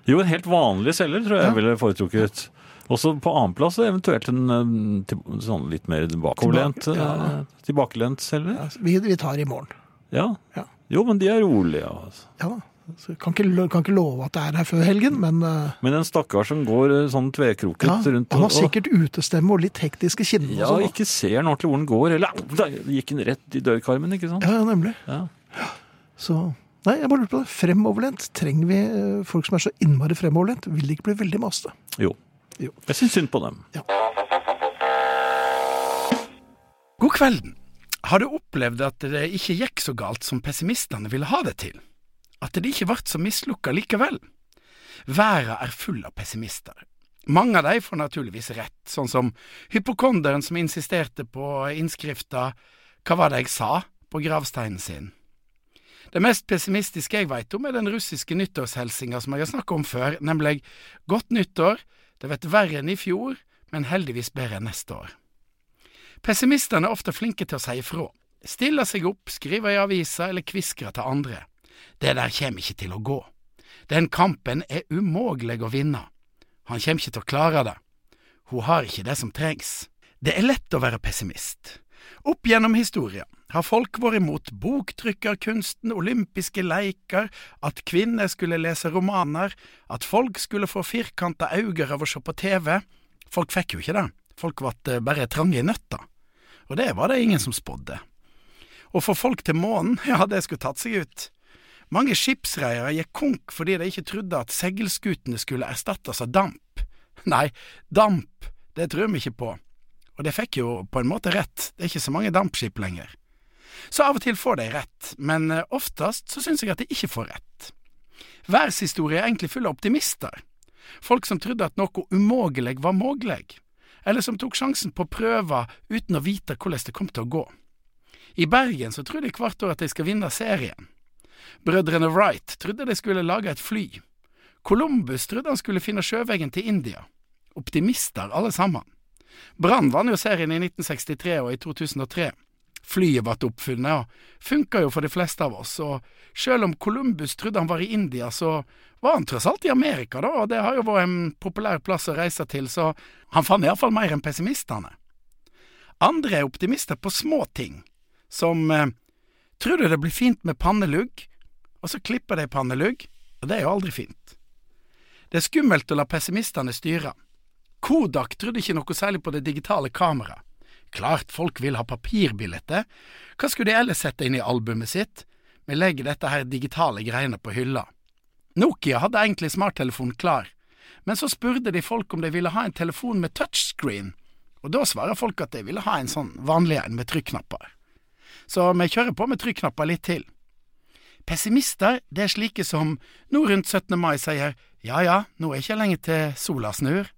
S2: Jo, en helt vanlig celler tror jeg
S1: Ja.
S2: jeg ville foretrukket. Også på annenplass eventuelt en eh, til, sånn litt mer bakoverlent,
S1: Tilbake- ja.
S2: eh, tilbakelent celler.
S1: Altså, vi, vi tar i morgen.
S2: Ja.
S1: Ja.
S2: Jo, men de er rolige. Altså.
S1: Ja da. Så kan, ikke, lo- kan ikke love at det er her før helgen, men eh,
S2: Men en stakkar som går eh, sånn tvekroket
S1: ja,
S2: rundt
S1: han har
S2: og-
S1: sikkert utestemme og litt hektiske kinner.
S2: ja,
S1: og sånn.
S2: ikke ser han ordentlig hvor den går. Eller au, der gikk den rett i dørkarmen, ikke sant?
S1: ja, ja, nemlig.
S2: Ja.
S1: Så Nei, jeg bare lurte på det. Fremoverlent. Trenger vi eh, folk som er så innmari fremoverlent? Vil de ikke bli veldig maste?
S2: Jo.
S1: Jo.
S2: Jeg syns synd på dem.
S5: God kvelden. Har du opplevd at det ikke gikk så galt som pessimistene ville ha det til? At det ikke ble så mislukka likevel? Verden er full av pessimister. Mange av de får naturligvis rett, sånn som hypokonderen som insisterte på innskrifta Hva var det jeg sa? på gravsteinen sin. Det mest pessimistiske jeg veit om, er den russiske nyttårshelsinga som jeg har snakka om før, nemlig Godt nyttår, det vet verre enn i fjor, men heldigvis bedre enn neste år. Pessimistene er ofte flinke til å si ifra. Stiller seg opp, skriver i aviser eller kviskrer til andre. Det der kommer ikke til å gå. Den kampen er umågelig å vinne. Han kommer ikke til å klare det. Hun har ikke det som trengs. Det er lett å være pessimist. Opp gjennom historia har folk vært imot boktrykkerkunsten, olympiske leker, at kvinner skulle lese romaner, at folk skulle få firkanta øyne av å se på TV. Folk fikk jo ikke det. Folk ble eh, bare trange i nøtta. Og det var det ingen som spådde. Å få folk til månen, ja, det skulle tatt seg ut. Mange skipsreiere gikk konk fordi de ikke trodde at seilskutene skulle erstattes av damp. Nei, damp, det tror vi ikke på. Og det fikk jo på en måte rett, det er ikke så mange dampskip lenger. Så av og til får de rett, men eh, oftest så syns jeg at de ikke får rett. Verdenshistorie er egentlig full av optimister. Folk som trodde at noe umågelig var mågleg, eller som tok sjansen på prøver uten å vite hvordan det kom til å gå. I Bergen så tror de hvert år at de skal vinne serien. Brødrene Wright trodde de skulle lage et fly. Columbus trodde han skulle finne sjøveien til India. Optimister alle sammen. Brann vant jo serien i 1963 og i 2003. Flyet ble oppfunnet og funka jo for de fleste av oss, og selv om Columbus trodde han var i India, så var han tross alt i Amerika, da, og det har jo vært en populær plass å reise til, så han fant iallfall mer enn pessimistene. Andre er optimister på små ting, som eh, tror du det blir fint med pannelugg, og så klipper de pannelugg, og det er jo aldri fint. Det er skummelt å la pessimistene styre. Kodak trodde ikke noe særlig på det digitale kameraet. Klart folk vil ha papirbilletter. Hva skulle de ellers sette inn i albumet sitt? Vi legger dette her digitale greiene på hylla. Nokia hadde egentlig smarttelefonen klar, men så spurte de folk om de ville ha en telefon med touchscreen, og da svarer folk at de ville ha en sånn vanlig en med trykknapper. Så vi kjører på med trykknapper litt til. Pessimister, det er slike som nå rundt 17. mai sier ja ja, nå er ikke lenge til sola snur.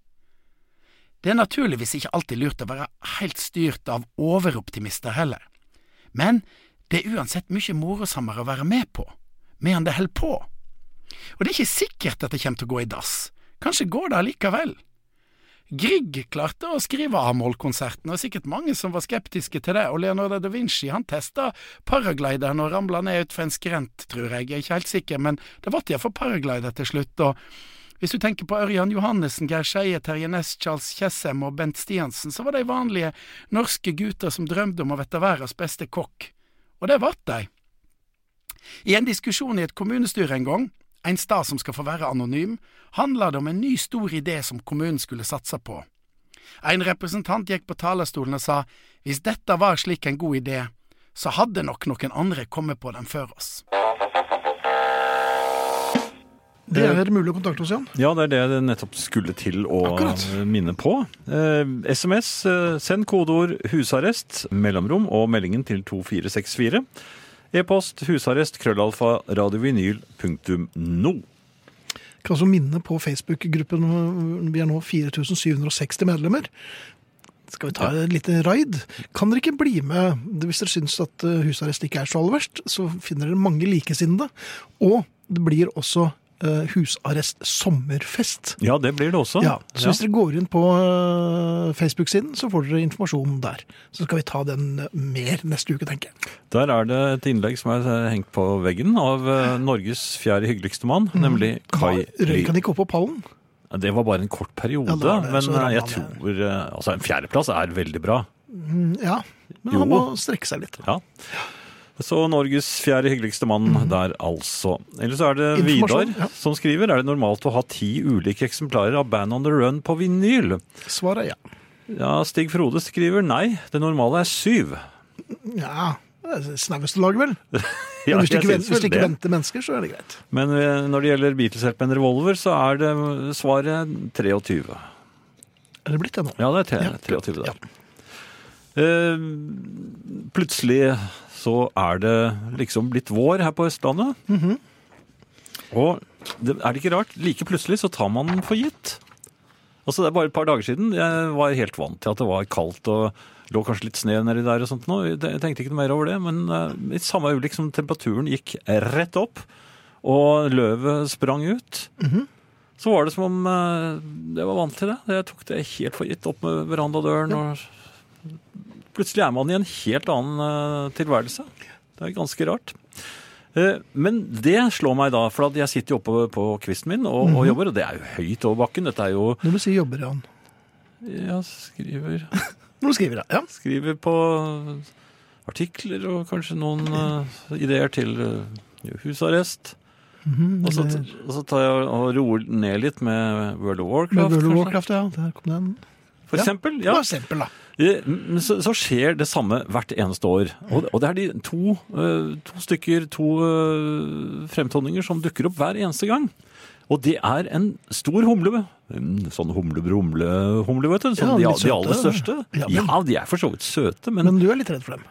S5: Det er naturligvis ikke alltid lurt å være helt styrt av overoptimister heller, men det er uansett mye morosammere å være med på, medan det holder på. Og det er ikke sikkert at det kommer til å gå i dass, kanskje går det allikevel. Grieg klarte å skrive A-moll-konserten, og sikkert mange som var skeptiske til det, og Leonardo da Vinci han testa paraglideren og ramla ned utfor en skrent, tror jeg, jeg er ikke helt sikker, men det ble iallfall paraglider til slutt, og hvis du tenker på Ørjan Johannessen, Geir Skeie, Terje Næss, Charles Tjessem og Bent Stiansen, så var de vanlige norske gutter som drømte om å bli verdens beste kokk. Og det ble de. I en diskusjon i et kommunestyre en gang, en stad som skal få være anonym, handla det om en ny stor idé som kommunen skulle satse på. En representant gikk på talerstolen og sa hvis dette var slik en god idé, så hadde nok noen andre kommet på den før oss.
S1: Det er mulig å kontakte oss, Jan.
S2: Ja, det er det jeg nettopp skulle til å
S1: Akkurat.
S2: minne på. Eh, SMS, eh, send kodeord 'husarrest', mellomrom og meldingen til 2464. E-post husarrest krøllalfa radiovinyl.no.
S1: kan også minne på Facebook-gruppen. eh, Vi er nå 4760 medlemmer. Skal vi ta et lite raid? Kan dere ikke bli med hvis dere syns at eh, husarrest ikke er så aller verst? Så finner dere mange likesinnede. Og det blir også eh, husarrest sommerfest.
S2: Ja, det blir det også.
S1: Ja, så hvis dere går inn på eh, Facebook-siden, så får dere informasjon der. Så skal vi ta den eh, mer neste uke, tenker jeg.
S2: Der er det et innlegg som er eh, hengt på veggen av eh, Norges fjerde hyggeligste mann,
S1: Mm.
S2: nemlig Kai Ly.
S1: Røyk han ikke opp på pallen?
S2: Ja, Det var bare en kort periode,
S1: Ja, det var det,
S2: men
S1: så ramla
S2: eh, jeg
S1: han
S2: tror eh, Altså, en fjerdeplass er veldig bra.
S1: Ja, men
S2: Jo.
S1: han må strekke seg litt.
S2: Ja. Så Norges fjerde hyggeligste mann der, altså. Ellers er det Vidar
S1: Mm. Informasjon, ja.
S2: som skriver. Er det normalt å ha ti ulike eksemplarer av Band on the Run på vinyl?
S1: Svaret er ja.
S2: Ja, Stig Frode skriver nei. Det normale er syv.
S1: Ja, det er snaueste lag, vel?
S2: Ja,
S1: Men hvis du ikke,
S2: jeg synes
S1: venter, hvis du ikke
S2: vel det.
S1: venter mennesker, så er det greit.
S2: Men eh, når det gjelder Beatles-hjelp med en revolver, så er det svaret 23.
S1: Er det blitt det nå?
S2: Ja, det er
S1: Ja,
S2: tre- 23 der.
S1: ja.
S2: Eh, plutselig så er det liksom blitt vår her på Østlandet.
S1: Mhm.
S2: Og det, er det ikke rart? Like plutselig så tar man den for gitt. Altså Det er bare et par dager siden jeg var helt vant til at det var kaldt og lå kanskje litt snø nedi der og sånt nå. Jeg tenkte ikke noe mer over det, men eh, i samme øyeblikk som temperaturen gikk rett opp og løvet sprang ut, så var det som om eh, jeg var vant til det. Jeg tok det helt for gitt opp med verandadøren. Og plutselig er man i en helt annen eh, tilværelse. Det er ganske rart. Eh, Men det slår meg da, for at jeg sitter jo oppe på kvisten min og,
S1: Mhm.
S2: og jobber, og det er jo høyt over bakken. Dette er jo
S1: Når du sier jobber, Jan.
S2: Jeg skriver,
S1: Når du skriver, ja. ja.
S2: skriver på artikler og kanskje noen eh, ideer til eh, husarrest. Og så,
S1: Mhm, eller-
S2: og så tar jeg og roer ned litt med World of Warcraft,
S1: Med World of
S2: kanskje.
S1: Warcraft, ja. Der kom den.
S2: for
S1: Ja.
S2: eksempel.
S1: Ja.
S2: Ja.
S1: For eksempel, da.
S2: Eh, men Så, så skjer det samme hvert eneste år. Og, og det er de to, eh, to stykker, to eh, fremtoninger som dukker opp hver eneste gang. Og det er en stor humle. En sånn humle-brumle-humle, vet du. Sånn
S1: Ja, litt
S2: de, de aller
S1: søte.
S2: største.
S1: Ja,
S2: Ja,
S1: men-
S2: de er for så vidt søte, men
S1: Men du er litt redd for dem.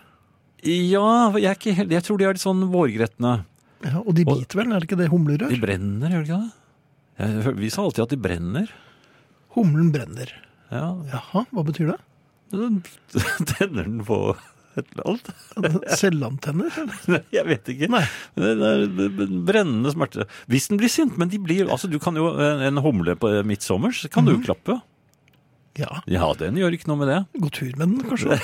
S2: ja, jeg, er ikke helt, jeg tror de er litt sånn vårgretne.
S1: Ja, og de
S2: Og-
S1: biter vel, er det ikke det? Humlerør?
S2: De brenner, gjør de ikke det? Jeg hør- Vi sa alltid at de brenner.
S1: Humlen brenner.
S2: Ja,
S1: Jaha, hva betyr det?
S2: Tenner den på et eller annet?
S1: Selvantenner? eller?
S2: Nei, jeg vet ikke. Det er brennende smerte. Hvis den blir sint, men de blir altså, du kan jo, En humle på midtsommers kan
S1: Mhm.
S2: du jo klappe.
S1: Ja.
S2: Ja, den gjør ikke noe med det.
S1: Gå tur med den, kanskje?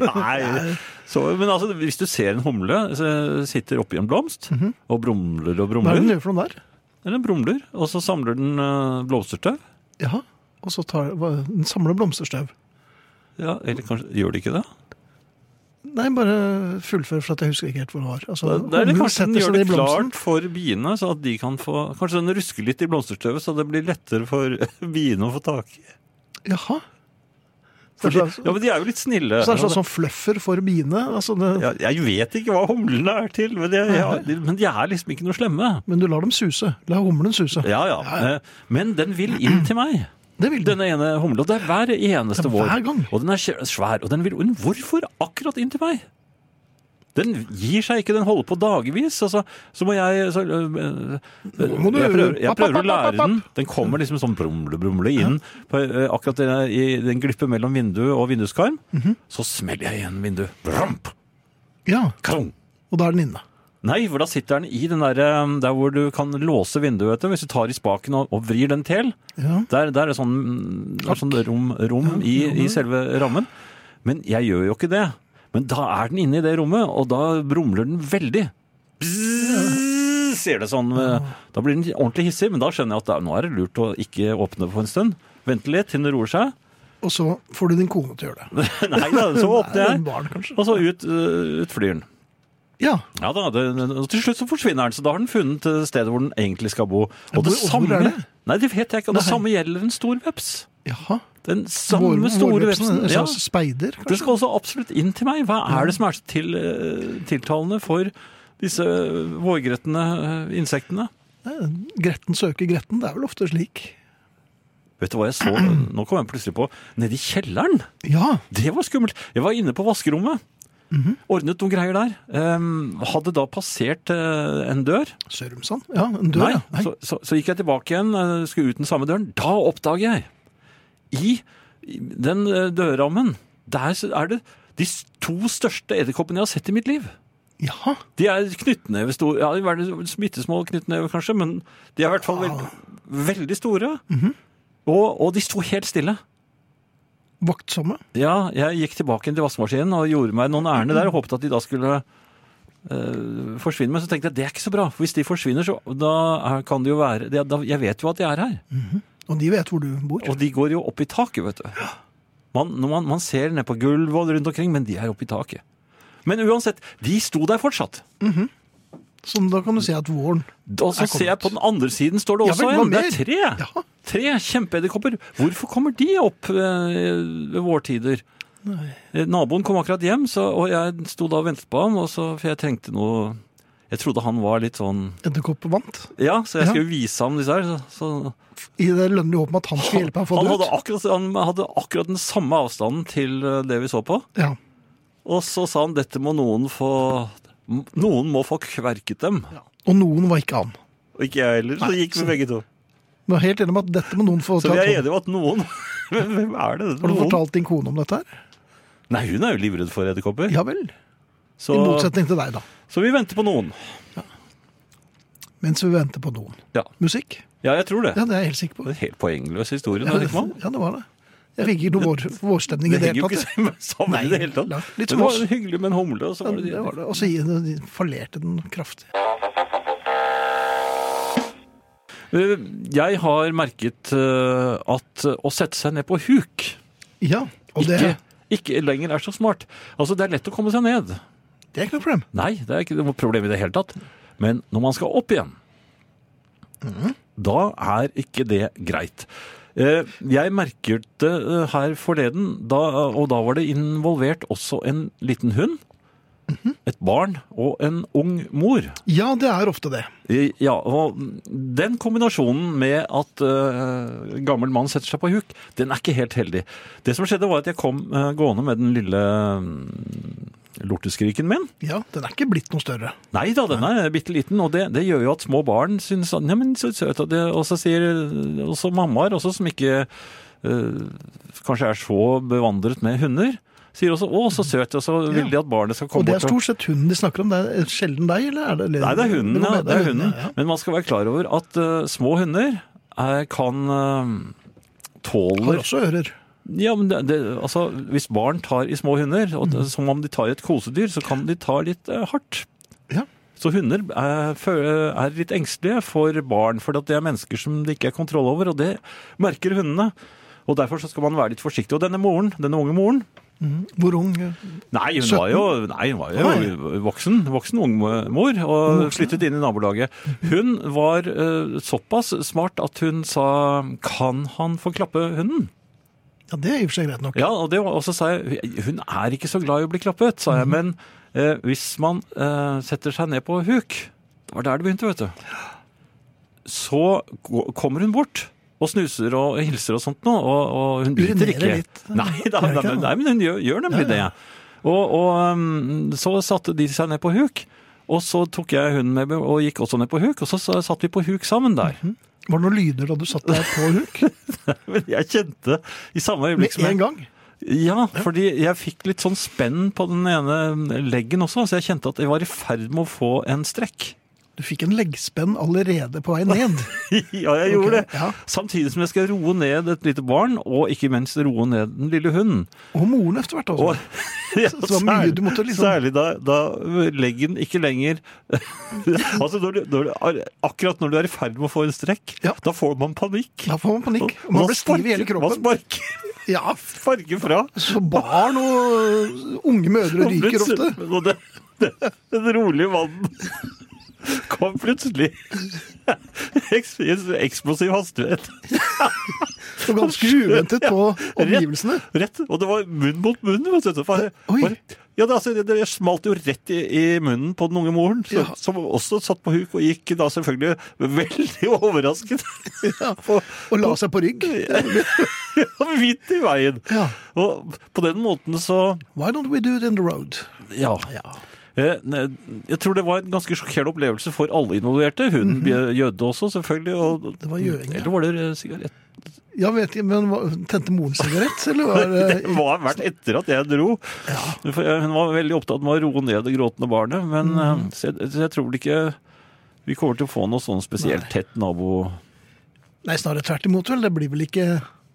S2: Nei. Så, men altså, hvis du ser en humle så sitter oppi en blomst
S1: Mhm.
S2: og brumler
S1: Hva er det
S2: og
S1: den
S2: brumler,
S1: gjør for noen der?
S2: eller den brumler, og så samler den eh, blomsterstøv
S1: Jaha. Og så tar, hva- den samler blomsterstøv.
S2: ja, Eller kanskje gjør det ikke det?
S1: Nei, bare fullfør, for at jeg husker ikke helt hvor den var. Altså,
S2: Da- da er det
S1: humlen
S2: kanskje den
S1: setter
S2: gjør
S1: seg
S2: det
S1: i blomsten.
S2: klart for biene, så at de kan få Kanskje den rusker litt i blomsterstøvet, så det blir lettere for biene å få tak i.
S1: Jaha. Så
S2: Fordi,
S1: det er sånn-
S2: ja, men de er jo litt snille.
S1: Så det er sånn, sånn fluffer for biene. Altså det,
S2: Ja, jeg vet ikke hva humlene er til, men de, ja, men de er liksom ikke noe slemme.
S1: Men du lar dem suse. La humlen suse.
S2: Ja, ja. Eh, Men den vil inn til meg.
S1: Det vil den.
S2: Denne ene humla. Det er hver eneste
S1: Ja,
S2: vår.
S1: hver gang.
S2: Og den er skje- svær. Og den vil Men hvorfor akkurat inn til meg? Den gir seg ikke. Den holder på dagevis. Altså, så må jeg så, øh, øh,
S1: må du-
S2: Jeg prøver, jeg
S1: app, app,
S2: prøver
S1: app,
S2: å
S1: app,
S2: lære
S1: app.
S2: den. Den kommer liksom sånn brumle-brumle inn på, øh, akkurat i- i den glippe mellom vindu og vinduskarm.
S1: Mhm.
S2: Så smeller jeg igjen vinduet. Vromp!
S1: Ja,
S2: Krong!
S1: Og da er den inne.
S2: Nei, for da sitter den i den der, eh, der hvor du kan låse vinduet, vet du, hvis du tar i spaken og, og vrir den til.
S1: Ja.
S2: Der, der er sånn, mm, det er sånn rom, rom i, i selve rammen. Men jeg gjør jo ikke det. Men da er den inne i det rommet, og da brumler den veldig. Bzzz, Ser det sånn. eh, Da blir den ordentlig hissig, men da skjønner jeg at det, er- nå er det lurt å ikke åpne på en stund. Vente litt til den roer seg.
S1: Og så får du din kone til å gjøre det.
S2: Nei da, så åpner
S1: Eller en
S2: jeg,
S1: barn, kanskje.
S2: og så ut, eh, ut flyr den.
S1: Ja.
S2: Ja da, det, og Til slutt så forsvinner den, så da har den funnet eh, stedet hvor den egentlig skal bo. Og det
S1: hvor- hvor
S2: samme,
S1: er det?
S2: Nei, det vet jeg ikke. og Det samme gjelder en stor veps.
S1: Jaha.
S2: Den samme
S1: Vår-
S2: store
S1: vårvepsen,
S2: vepsen.
S1: en
S2: Ja,
S1: slags Speider,
S2: den
S1: kanskje.
S2: skal også absolutt inn til meg. Hva er det som er så til, eh, tiltalende for disse eh, vårgretne eh, insektene?
S1: Gretten søker Gretten. Det er vel ofte slik.
S2: Vet du hva jeg så? Nå kom jeg plutselig på. Nede i kjelleren!
S1: Ja.
S2: Det var skummelt. Jeg var inne på vaskerommet.
S1: Mhm.
S2: Ordnet noen greier der. Eh, hadde da passert eh, en dør.
S1: Sørumsand? Ja, en dør,
S2: Nei.
S1: ja. Nei.
S2: Så, så, så gikk jeg tilbake igjen, eh, skulle ut den samme døren. Da oppdager jeg i i den eh, dørrammen Der så er det de s- to største edderkoppene jeg har sett i mitt liv.
S1: Jaha.
S2: De er knyttnevestore. Ja, de er smittesmå knyttnever, kanskje, men de er i hvert fall veld, veldig store.
S1: Mhm.
S2: og, og de sto helt stille.
S1: Vaktsomme?
S2: Ja, jeg gikk tilbake til vaskemaskinen og gjorde meg noen ærend der og håpet at de da skulle eh, forsvinne. Men så tenkte jeg det er ikke så bra, for hvis de forsvinner, så da er, kan det jo være det, da, Jeg vet jo at de er her.
S1: Og de vet hvor du bor?
S2: Og de går jo opp i taket, vet du. Man, når man, man ser ned på gulvet og rundt omkring, men de er oppe i taket. Men uansett, de sto der fortsatt.
S1: Så da kan du si at våren
S2: Og så
S1: Jeg kom
S2: ser jeg
S1: ut.
S2: på den andre siden står det
S1: Ja
S2: også
S1: vel, hva
S2: en. Det er
S1: mer?
S2: tre.
S1: Ja.
S2: Tre kjempeedderkopper. Hvorfor kommer de opp eh, ved vårtider? Eh, Naboen kom akkurat hjem, så, og jeg sto da og ventet på ham, og så, for jeg trengte noe Jeg trodde han var litt sånn
S1: Edderkopp vant.
S2: Ja, så jeg
S1: Ja.
S2: skulle vise ham disse her. Så, så,
S1: I det lønnlige håp om at han skulle hjelpe deg å få
S2: han,
S1: det
S2: hadde
S1: ut.
S2: akkurat, han hadde akkurat den samme avstanden til eh, det vi så på.
S1: Ja.
S2: Og så sa han dette må noen få Noen må få kverket dem.
S1: Og noen var ikke han.
S2: Og ikke jeg heller, så gikk vi begge to.
S1: Men jeg er helt enig med at dette må noen få
S2: Så vi
S1: tatt hånd om.
S2: er enige om at noen Hvem er det?
S1: Har du
S2: Noen?
S1: fortalt din kone om dette her?
S2: Nei, hun er jo livredd for edderkopper.
S1: Ja vel.
S2: så,
S1: I motsetning til deg, da.
S2: så vi venter på noen.
S1: Mens vi venter på noen.
S2: Ja.
S1: Musikk?
S2: Ja, jeg tror det.
S1: Ja, det er jeg helt sikker på.
S2: Det er en helt poengløs historie.
S1: Ja, det,
S2: da, tenker man.
S1: ja, det var det. Jeg fikk ikke noe vår, vårstemning i
S2: Det
S1: det
S2: henger jo
S1: hele
S2: ikke
S1: tatt.
S2: sammen sammen i det hele
S1: Nei,
S2: tatt.
S1: litt
S2: Det
S1: som
S2: var
S1: oss.
S2: hyggelig med en humle, og så
S1: Ja,
S2: var det
S1: det var det. Og så de fallerte den kraftig.
S2: Eh, Jeg har merket eh, at å sette seg ned på huk
S1: Ja, og det,
S2: ikke, ikke lenger er så smart. Altså, det er lett å komme seg ned.
S1: det er ikke noe problem.
S2: Nei, det er ikke noe problem i det hele tatt. Men når man skal opp igjen, da er ikke det greit. Eh, Jeg merket det eh, her forleden, da, og da var det involvert også en liten hund, et barn og en ung mor.
S1: Ja, det er ofte det.
S2: Eh, Ja, og den kombinasjonen med at eh, gammel mann setter seg på huk, den er ikke helt heldig. Det som skjedde var at jeg kom eh, gående med den lille mm, lorteskriken min,
S1: Ja, Den er ikke blitt noe større.
S2: Nei da, den er bitte liten, og det, det gjør jo at små barn syns at, ja, men så søt, og, det, og så sier også mammaer, også som ikke eh, kanskje er så bevandret med hunder, sier også 'å, så søt', og så vil de at barnet skal
S1: Og
S2: komme
S1: det er
S2: bort. og-
S1: stort sett hunden de snakker om. Det er sjelden deg, eller? Er det,
S2: Nei, det er hunden, ja.
S1: går med-
S2: Det er hunden.
S1: ja.
S2: Men man skal være klar over at eh, små hunder eh, kan uh,
S1: Har
S2: tåler
S1: også ører.
S2: Ja, men det, det, altså, hvis barn tar i små hunder, og, det- som om de tar i et kosedyr, så kan de ta litt eh, hardt.
S1: Ja.
S2: Så hunder er, fø- er litt engstelige for barn, for det er mennesker som det ikke er kontroll over, og det merker hundene. Og derfor så skal man være litt forsiktig. Og denne moren, denne unge moren,
S1: Hvor ung? eh,
S2: Nei, hun
S1: 17?
S2: var jo, nei, hun var jo voksen, voksen ung mor, og flyttet inn i nabolaget. Hun var eh, såpass smart at hun sa 'kan han få klappe hunden'?
S1: Ja, Det er i og for seg greit nok.
S2: Ja, og, det var, og så sa jeg 'hun er ikke så glad i å bli klappet', sa jeg.
S1: Mhm.
S2: Men eh, hvis man eh, setter seg ned på huk Det var der det begynte, vet du. Så gå- kommer hun bort. Og snuser og hilser og sånt nå, og, og hun biter
S1: Urinerer
S2: ikke.
S1: litt.
S2: Nei,
S1: Gjør
S2: da, da,
S1: ikke det, da?
S2: nei, men hun gjør, gjør nemlig
S1: Ja, ja.
S2: det. Og, og um, så satte de seg ned på huk, og så tok jeg hunden med meg og gikk også ned på huk, og så sa- satt vi på huk sammen der.
S1: Var det noen lyder da du satt der på huk?
S2: Men jeg kjente i samme øyeblikk
S1: Med
S2: som Liksom jeg
S1: en gang?
S2: Ja, fordi jeg fikk litt sånn spenn på den ene leggen også, så jeg kjente at jeg var i ferd med å få en strekk.
S1: Du fikk en leggspenn allerede på vei ned.
S2: ja, jeg gjorde
S1: Ok,
S2: det.
S1: ja.
S2: Samtidig som jeg skal roe ned et lite barn, og ikke minst roe ned den lille hunden.
S1: Og moren etter hvert altså. også.
S2: Og, ja,
S1: Så det var mye
S2: særlig-
S1: du måtte liksom-
S2: Særlig da, da leggen ikke lenger Altså, når du, når du, er- akkurat når du er i ferd med å få en strekk,
S1: Ja.
S2: da får man panikk.
S1: Da får man panikk. og Man
S2: Da
S1: blir stiv i hele
S2: sparker- Man
S1: kroppen.
S2: sparker,
S1: Ja,
S2: sparker fra.
S1: Så barn og unge mødre ryker ofte.
S2: Og det, det, det rolige vann kom plutselig eks- i en eksplosiv hastighet
S1: Og ganske uventet på omgivelsene.
S2: rett. Og det var munn mot munn. Vet du. For,
S1: Oi.
S2: for, ja, det, altså, det, det smalt jo rett i, i munnen på den unge moren, så,
S1: Ja.
S2: som også satt på huk og gikk da selvfølgelig veldig overrasket.
S1: Ja.
S2: på-
S1: Og la seg på rygg.
S2: Midt i veien.
S1: Ja.
S2: Og på den måten så
S1: Why don't we do it in the road?
S2: Ja. Eh, ne- Jeg tror det var en ganske sjokkerende opplevelse for alle involverte. Hun jødde også, selvfølgelig. Og,
S1: Det var jøding, ja.
S2: Mhm. Eller var det eh, sigarett?
S1: Ja, vet jeg, men hva- Tente moren sigarett, eller var
S2: Det
S1: det
S2: var vært etter at jeg dro. For jeg, hun var veldig opptatt med å roe ned det gråtende barnet. Men eh, så jeg, så jeg tror vel ikke vi kommer til å få noe sånn spesielt tett nabo...
S1: Nei, snarere tvert imot, vel. Det blir vel ikke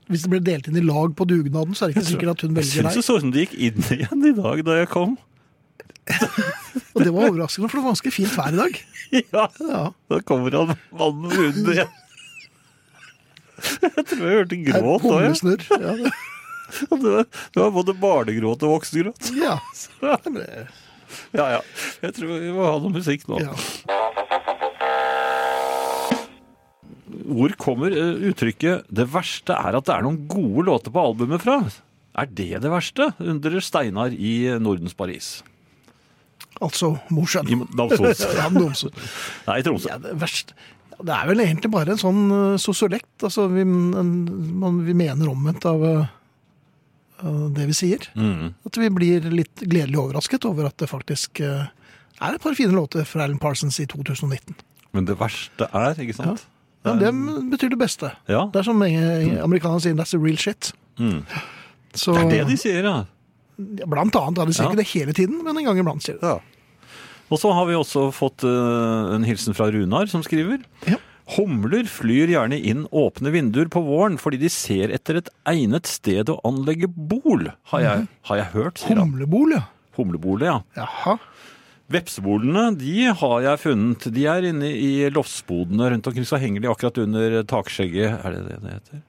S1: Hvis det blir delt inn i lag på dugnaden, så er det ikke sikkert at hun
S2: Jeg
S1: velger
S2: syns
S1: deg.
S2: det så ut som det gikk inn igjen i dag da jeg kom.
S1: Og det var overraskende, for det var ganske fint vær i dag.
S2: Ja,
S1: Ja.
S2: Da kommer han mannen under igjen. Jeg tror jeg hørte
S1: Her,
S2: gråt òg. jeg.
S1: humlesnurr. Ja, det,
S2: Det var- det var både barnegråt og voksengråt.
S1: ja.
S2: Ja,
S1: Men det-
S2: ja. Jeg tror vi må ha noe musikk nå.
S1: ja.
S2: Hvor kommer eh, uttrykket 'det verste er at det er noen gode låter på albumet' fra? Er det det verste? undrer Steinar i eh, Nordens Paris.
S1: Altså
S2: I
S1: Mosjøen.
S2: Namsos.
S1: Ja, men Domsø.
S2: Nei, i Tromsø.
S1: Ja, det er verst. Ja, Det er vel egentlig bare en sånn uh, sosiolekt. Altså, vi, en, man, vi mener omvendt av uh, uh, det vi sier.
S2: Mm.
S1: At vi blir litt gledelig overrasket over at det faktisk uh, er et par fine låter fra Alan Parsons i 2019.
S2: Men det verste er, ikke sant?
S1: Ja, det betyr det beste.
S2: Ja.
S1: Det er som eh, amerikanerne sier, that's the real shit. Så,
S2: Mm. Det er det de sier, ja.
S1: ja, Blant annet. Ja, de sier
S2: Ja.
S1: ikke det hele tiden, men en gang iblant sier de det.
S2: Og så har vi også fått eh, en hilsen fra Runar, som skriver.
S1: Ja.
S2: Humler flyr gjerne inn åpne vinduer på våren fordi de ser etter et egnet sted å anlegge bol, har jeg,
S1: Mhm.
S2: har jeg hørt, sier han.
S1: Humlebol, ja.
S2: Humlebolet, ja.
S1: Jaha.
S2: Vepsebolene, de har jeg funnet. De er inne i loftsbodene rundt omkring, så henger de akkurat under takskjegget. Er det det det heter?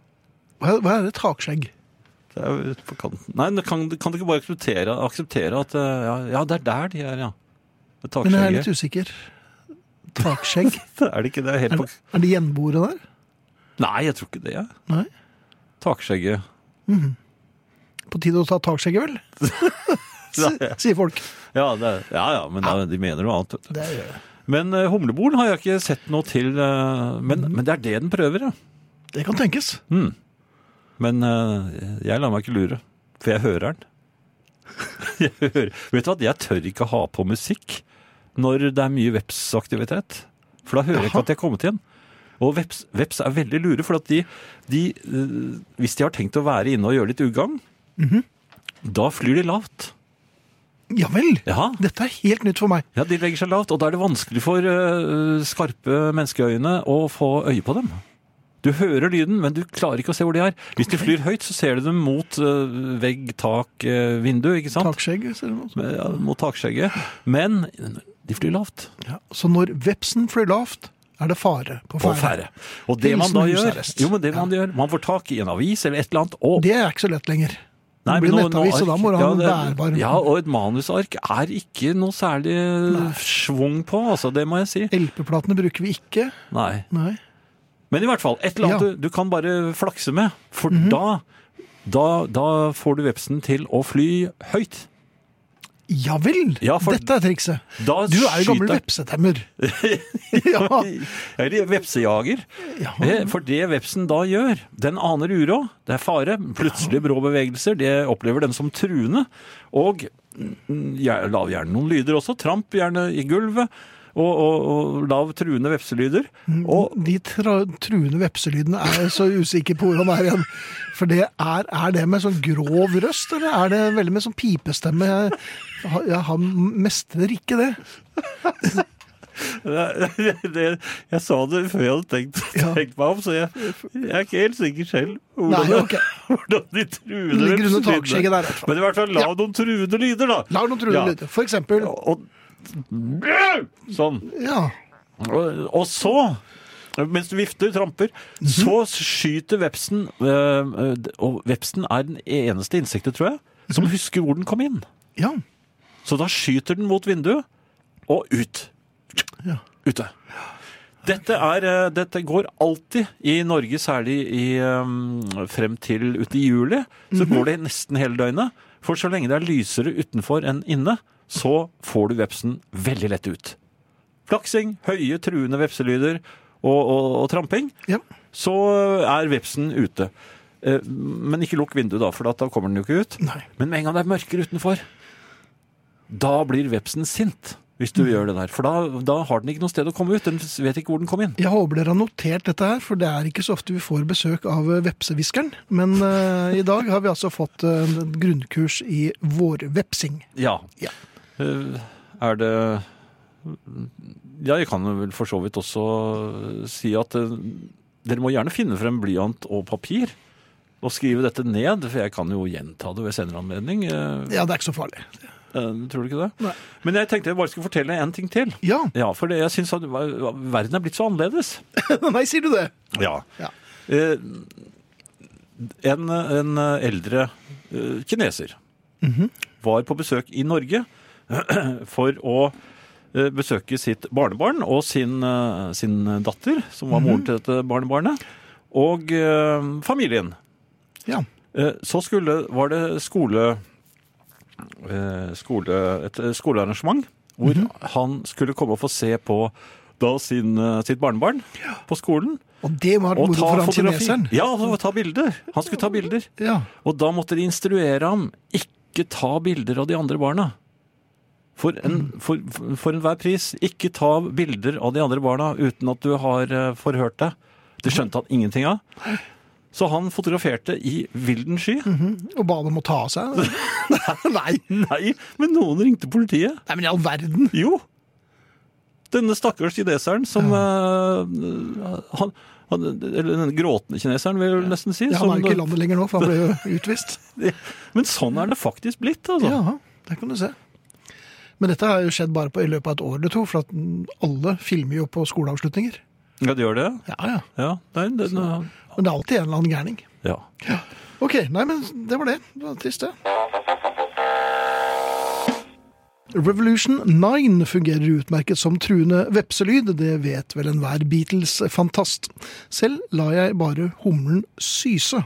S1: Hva, hva er det? Takskjegg?
S2: Det er jo ute på kanten. Nei, men kan, kan du ikke bare akseptere, akseptere at eh, ja, ja, det er der de er, ja. Ved
S1: Men jeg er litt
S2: Takskjegget.
S1: usikker. Takskjegg?
S2: Er det ikke det? Helt
S1: Er,
S2: på...
S1: det- er det gjenboere der?
S2: Nei, jeg tror ikke det. jeg.
S1: Nei.
S2: Takskjegget.
S1: På tide å ta takskjegget, vel? S- Sier folk.
S2: Ja, det, er- ja, ja, men da, de mener noe annet. vet du.
S1: Det gjør jeg.
S2: Men uh, humlebolen har jeg ikke sett noe til. eh, men,
S1: Mm.
S2: men det er det den prøver, ja.
S1: Det kan tenkes.
S2: Men eh, jeg lar meg ikke lure, for jeg hører den. jeg hører. Vet du hva, jeg tør ikke ha på musikk når det er mye vepsaktivitet. For da hører jeg ikke at jeg er kommet igjen. Og veps, veps er veldig lure, for at de, de eh, Hvis de har tenkt å være inne og gjøre litt ugagn, da flyr de lavt.
S1: Ja vel.
S2: Ja,
S1: Dette er helt nytt for meg.
S2: Ja, De legger seg lavt, og da er det vanskelig for eh, skarpe menneskeøyne å få øye på dem. Du hører lyden, men du klarer ikke å se hvor de er. Hvis de flyr høyt, så ser du dem mot eh, vegg, tak, eh, vindu, ikke sant?
S1: Takskjegg, ser det ut som.
S2: Ja, mot takskjegget. Men de flyr lavt.
S1: Ja. Så når vepsen flyr lavt, er det fare på
S2: På
S1: ferde.
S2: ferde. Og det man da
S1: Hilsen
S2: gjør
S1: husarrest.
S2: Jo, men det man gjør Man får tak i en avis eller et eller annet, og
S1: Det er ikke så lett lenger. Det
S2: Nei,
S1: blir
S2: men nå- nå
S1: nettavis,
S2: ark-
S1: og da må du ha en
S2: ja, det-
S1: bærbar
S2: Ja, og et manusark er ikke noe særlig schwung på, altså. Det må jeg si.
S1: LP-platene bruker vi ikke.
S2: Nei.
S1: Nei.
S2: Men i hvert fall, et eller annet
S1: Ja. Mhm.
S2: du, du kan bare flakse med, for da, da, da får du vepsen til å fly høyt.
S1: Ja vel!
S2: Ja, for-
S1: Dette er trikset.
S2: Da
S1: Du er jo gammel
S2: skyter-
S1: vepsetemmer. ja.
S2: Eller vepsejager.
S1: ja.
S2: Eh, For det vepsen da gjør, den aner uråd, det er fare, plutselig brå bevegelser, det opplever den som truende, og mm, jeg lav gjerne noen lyder også, tramp gjerne i gulvet, og, og, og lav truende vepselyder,
S1: Mhm.
S2: og
S1: De tra truende vepselydene er jeg så usikker på hvor han er igjen. For det er, er det med sånn grov røst, eller er det veldig med sånn pipestemme? Jeg, ha- jeg, han mestrer ikke det.
S2: Det, det, jeg sa det før jeg hadde tenkt,
S1: Ja.
S2: tenkt meg om, så jeg, jeg er ikke helt sikker selv hvordan,
S1: Nei, ok.
S2: hvordan de truende
S1: Ligger under
S2: vepselydene-
S1: takskjegget der, i hvert fall.
S2: Men i hvert fall la
S1: Ja.
S2: noen truende lyder, da.
S1: La noen truende
S2: Ja.
S1: lyder. For eksempel
S2: Og, sånn.
S1: Ja.
S2: Og, og så, mens du vifter, tramper,
S1: Mhm.
S2: så skyter vepsen øh, øh, Og vepsen er den eneste insektet, tror jeg,
S1: Mhm.
S2: som husker hvor den kom inn.
S1: ja.
S2: Så da skyter den mot vinduet og ut.
S1: Ja.
S2: ute. Dette, er, eh, dette går alltid i Norge, særlig i, eh, frem til ute i juli. Så går det nesten hele døgnet. For så lenge det er lysere utenfor enn inne, så får du vepsen veldig lett ut. Flaksing, høye, truende vepselyder og, og, og tramping,
S1: Ja.
S2: så er vepsen ute. Eh, Men ikke lukk vinduet, da, for da- da kommer den jo ikke ut.
S1: Nei.
S2: Men med en gang det er mørkere utenfor, da blir vepsen sint. Hvis du gjør det der. For da, da har den ikke noe sted å komme ut. Den vet ikke hvor den kom inn.
S1: Jeg håper dere har notert dette her, for det er ikke så ofte vi får besøk av eh, vepsehviskeren. Men eh, i dag har vi altså fått eh, en grunnkurs i vårvepsing.
S2: Ja.
S1: Ja.
S2: Eh, Er det Ja, jeg kan vel for så vidt også si at eh, dere må gjerne finne frem blyant og papir og skrive dette ned, for jeg kan jo gjenta det ved senere anledning. Eh,
S1: Ja, det er ikke så farlig.
S2: eh, Tror du ikke det?
S1: Nei.
S2: Men jeg tenkte jeg bare skulle fortelle en ting til.
S1: Ja,
S2: Ja, for det, jeg syns at verden er blitt så annerledes.
S1: nei, sier du det?
S2: Ja.
S1: Ja.
S2: Eh, en, en eldre eh, kineser Mhm. var på besøk i Norge for å eh, besøke sitt barnebarn og sin, eh, sin datter, som var moren til dette barnebarnet, og eh, familien.
S1: Ja.
S2: Eh, Så skulle, var det skole, eh, skole, et eh, skolearrangement hvor
S1: Mhm.
S2: han skulle komme og få se på da sin, eh, sitt barnebarn på skolen.
S1: Og det var
S2: Og
S1: moro
S2: ta
S1: for han
S2: fotografi.
S1: kineseren.
S2: Ja, og ta bilder. Han skulle ta bilder.
S1: Ja.
S2: Og da måtte de instruere ham ikke ta bilder av de andre barna. For, en,
S1: Mhm.
S2: for, for enhver pris. Ikke ta bilder av de andre barna uten at du har eh, forhørt deg. Det skjønte han ingenting av. Så han fotograferte i vilden sky.
S1: Og ba dem å ta av seg. nei,
S2: Nei, men noen ringte politiet.
S1: nei, men i all verden.
S2: Jo. Denne stakkars kineseren som eh, han, han, Eller den gråtende kineseren, vil jeg vel nesten si.
S1: Ja, han
S2: som-
S1: er jo ikke i landet lenger nå, for han ble jo utvist.
S2: Men sånn er det faktisk blitt, altså.
S1: Ja, der kan du se. Men dette har jo skjedd bare på, i løpet av et år eller to, for at mm, alle filmer jo på skoleavslutninger.
S2: Ja, det gjør det.
S1: Ja, ja.
S2: Ja, nei, det,
S1: Men det er alltid en eller annen gærning.
S2: ja.
S1: Ok, nei, men det var det. Det var trist, det. Revolution 9 fungerer utmerket som truende vepselyd, det vet vel enhver Beatles-fantast. Selv la jeg bare humlen syse.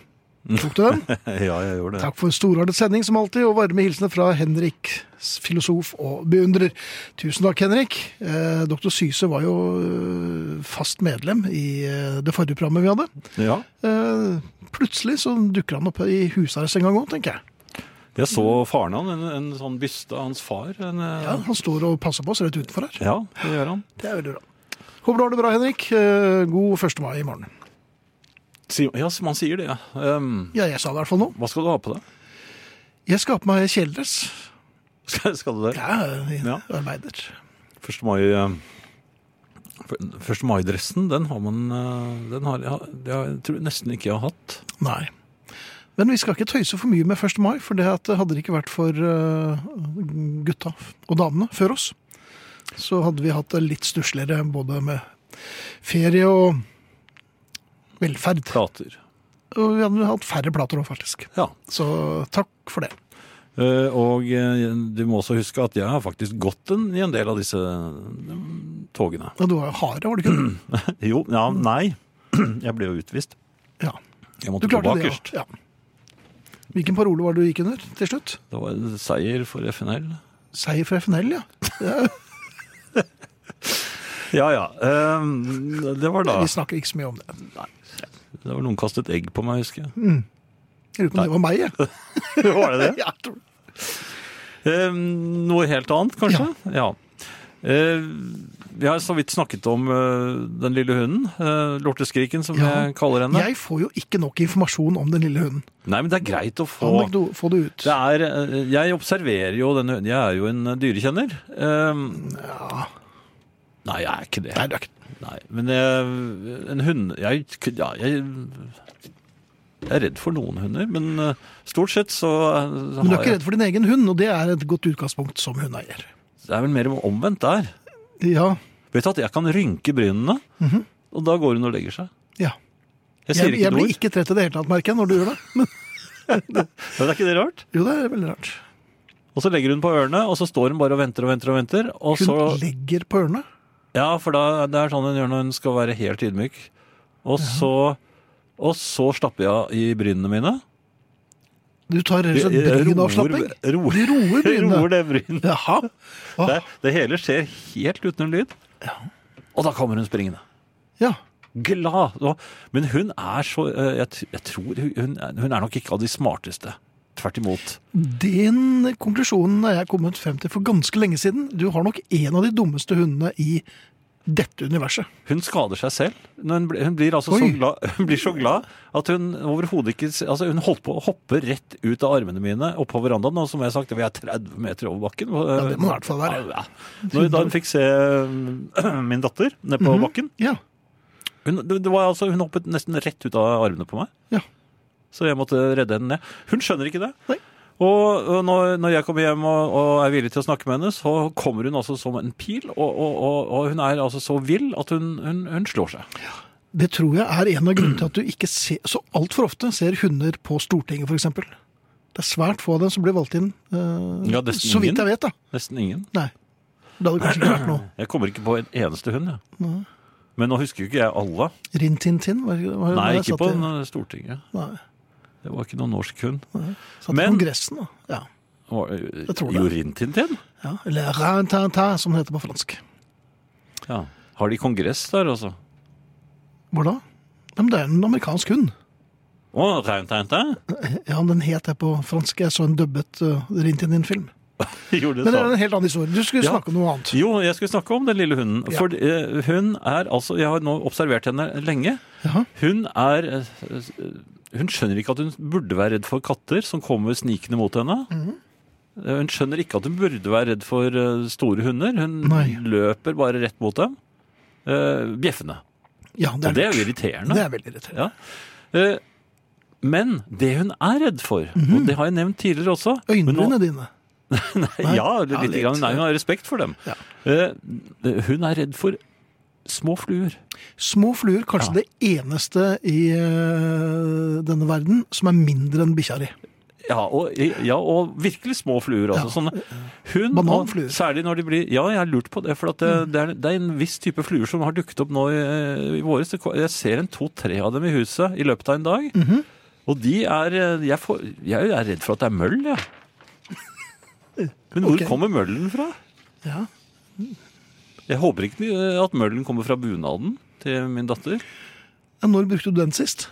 S1: Tok du den?
S2: ja, jeg gjorde det.
S1: Takk for storartet sending som alltid, og varme hilsener fra Henrik, filosof og beundrer. Tusen takk, Henrik. Eh, Dr. Syse var jo eh, fast medlem i eh, det forrige programmet vi hadde.
S2: Ja.
S1: Eh, plutselig så dukker han opp i husarrest en gang òg, tenker jeg.
S2: Jeg så faren han, en, en sånn byste av hans far. En, eh,
S1: Ja, han står og passer på oss rett utenfor her.
S2: ja, det gjør han.
S1: Det er veldig bra. Håper du har det bra, Henrik. Eh, God 1. mai i morgen.
S2: Si, ja, som han sier det, ja. Ehm,
S1: Ja, jeg sa det i hvert fall nå.
S2: hva skal du ha på deg?
S1: Jeg skal ha på meg kjeledress.
S2: Skal, skal du det?
S1: Ja, jeg
S2: Ja.
S1: arbeider.
S2: 1. mai... eh, f- 1. mai-dressen, den har man eh, Den har jeg, jeg tror nesten ikke jeg har hatt.
S1: Nei. Men vi skal ikke tøyse for mye med 1. mai, for det at det hadde det ikke vært for eh, gutta og damene før oss, så hadde vi hatt det litt stussligere både med ferie og velferd.
S2: Plater.
S1: Og vi hadde hatt færre plater òg, faktisk.
S2: Ja.
S1: Så takk for det.
S2: Eh, Og eh, du må også huske at jeg har faktisk gått en, i en del av disse eh, togene. Mm.
S1: Og du var jo harde, var du ikke?
S2: Jo, ja, nei. Jeg ble jo utvist.
S1: Ja.
S2: Jeg
S1: Du
S2: måtte gå
S1: klarte det,
S2: bakerst.
S1: ja. ja. Hvilken parole var det du gikk under til slutt?
S2: Det var en seier for FNL.
S1: Seier for FNL, ja.
S2: Ja, ja. eh, det var da
S1: Vi snakker ikke så mye om det.
S2: Det var noen kastet egg på meg, husker jeg.
S1: Jeg lurer på om det var meg, jeg.
S2: var det
S1: Ja, jeg tror det.
S2: Eh, noe helt annet, kanskje? Ja. Eh, vi har så vidt snakket om eh, den lille hunden. eh, lorteskriken, som
S1: Ja.
S2: jeg kaller henne.
S1: Jeg får jo ikke nok informasjon om den lille hunden.
S2: Nei, men det er greit å få
S1: Han må ikke få det ut.
S2: det er, eh, jeg observerer jo denne hunden. Jeg er jo en eh, dyrekjenner. Eh, Nei, jeg er ikke det.
S1: Nei, det er ikke
S2: Nei, men jeg, en hund jeg, ja, jeg, jeg er redd for noen hunder, men eh, stort sett så eh,
S1: Men du er ikke redd for din egen hund, og det er et godt utgangspunkt som hundeeier.
S2: Det er vel mer omvendt der.
S1: Ja.
S2: Vet du at jeg kan rynke brynene, og da går hun og legger seg.
S1: ja.
S2: Jeg sier
S1: Mhm. Jeg,
S2: ikke
S1: jeg
S2: noe
S1: blir
S2: ord.
S1: ikke trett i det hele tatt, merker jeg, når du gjør det. Men,
S2: Men er ikke det rart?
S1: jo, det er veldig rart.
S2: Og så legger hun på ørene, og så står hun bare og venter og venter og venter, og
S1: Hun
S2: så
S1: legger på ørene.
S2: Ja, for da, det er sånn hun gjør når hun skal være helt ydmyk. Og så, og så slapper jeg av i brynene mine.
S1: Du tar rett og slett
S2: Jeg- jeg
S1: brynavslapping?
S2: Eh, roer-
S1: Du roer brynene?
S2: roer det brynet.
S1: Jaha. Åh,
S2: Det, det hele skjer helt uten en lyd. Og da kommer hun springende.
S1: ja.
S2: Glad. Og- Men hun er så eh, Jeg, t- jeg tror hun- hun, er- hun er nok ikke av de smarteste. Tvert imot.
S1: Den konklusjonen er jeg kommet frem til for ganske lenge siden. Du har nok en av de dummeste hundene i dette universet.
S2: Hun skader seg selv. Når Hun blir, hun blir, altså så
S1: Oi.
S2: glad, hun blir så glad at hun overhodet ikke s- altså Hun holdt på å hoppe rett ut av armene mine opp på verandaen. Og som jeg har sagt, vi er 30 meter over bakken.
S1: Ja, det må i hvert fall være.
S2: Ja, ja. Når, da hun fikk se eh, min datter nede
S1: Mhm.
S2: på bakken
S1: Ja.
S2: hun, det, det var altså, hun hoppet nesten rett ut av armene på meg.
S1: Ja.
S2: Så jeg måtte redde henne ned. Hun skjønner ikke det.
S1: Nei.
S2: Og og når, når jeg kommer hjem og, og er villig til å snakke med henne, så kommer hun altså som en pil, og, og, og, og hun er altså så vill at hun, hun, hun slår seg.
S1: Det tror jeg er en av grunnene til at du ikke ser, så altfor ofte ser hunder på Stortinget, f.eks. Det er svært få av dem som blir valgt inn. eh,
S2: Ja, nesten
S1: så vidt
S2: ingen.
S1: jeg vet, da.
S2: Nesten ingen.
S1: Nei. Det hadde kanskje ikke vært noe.
S2: Jeg kommer ikke på en eneste hund, jeg. Men nå husker jo ikke jeg alle.
S1: Rintintin? Var, det- var, det-
S2: Nei,
S1: var det
S2: ikke
S1: satt
S2: på
S1: i-
S2: den- Stortinget.
S1: Nei.
S2: Det var ikke noen norsk hund. eh,
S1: Satt i
S2: Men-
S1: Kongressen, da. Ja.
S2: Var det-
S1: tror det.
S2: Jo, Rintintin?
S1: ja. Eller rintintin, som det heter på fransk.
S2: Ja. Har de kongress der, altså?
S1: Hvor da? Ja, men det er en amerikansk hund.
S2: Å, Rintintin?
S1: Ja, Den het det på fransk. Jeg så en dubbet uh, Rintintin-film. Men
S2: Gjorde sånn? det
S1: det er
S2: samme.
S1: en helt annen historie. Du skulle
S2: Ja.
S1: snakke om noe annet.
S2: Jo, jeg skulle snakke om den lille hunden.
S1: Ja.
S2: For eh, hun er altså Jeg har nå observert henne lenge.
S1: Jaha.
S2: Hun er eh, Hun skjønner ikke at hun burde være redd for katter som kommer snikende mot henne.
S1: Mhm.
S2: Eh, Hun skjønner ikke at hun burde være redd for eh, store hunder. Hun
S1: Nei.
S2: løper bare rett mot dem. eh, bjeffende.
S1: Ja, det
S2: Og
S1: er,
S2: det er jo
S1: lurt.
S2: irriterende.
S1: Det er veldig irriterende.
S2: Ja. Eh, Men det hun er redd for,
S1: Mhm.
S2: og det har jeg nevnt tidligere også men nå-
S1: Øynene dine. Nei. Ja,
S2: ja, litt.
S1: litt.
S2: Grann. Nei, hun har respekt for dem.
S1: Ja.
S2: Eh, hun er redd for små fluer.
S1: Små fluer, kanskje
S2: Ja.
S1: det eneste i eh, denne verden som er mindre enn bikkja di.
S2: Ja og, ja, og virkelig små fluer. Altså, sånne. Hun,
S1: Bananfluer.
S2: og Særlig når de blir Ja, jeg har lurt på det. For at eh, det, det, er, det er en viss type fluer som har dukket opp nå i, eh, i våres. Det ko- Jeg ser en to-tre av dem i huset i løpet av en dag.
S1: Mhm.
S2: Og de er eh, jeg, får, jeg er redd for at det er møll, jeg. Men hvor
S1: Ok.
S2: kommer møllen fra?
S1: Ja.
S2: Jeg håper ikke eh, at møllen kommer fra bunaden til min datter.
S1: Ja, Når brukte du den sist?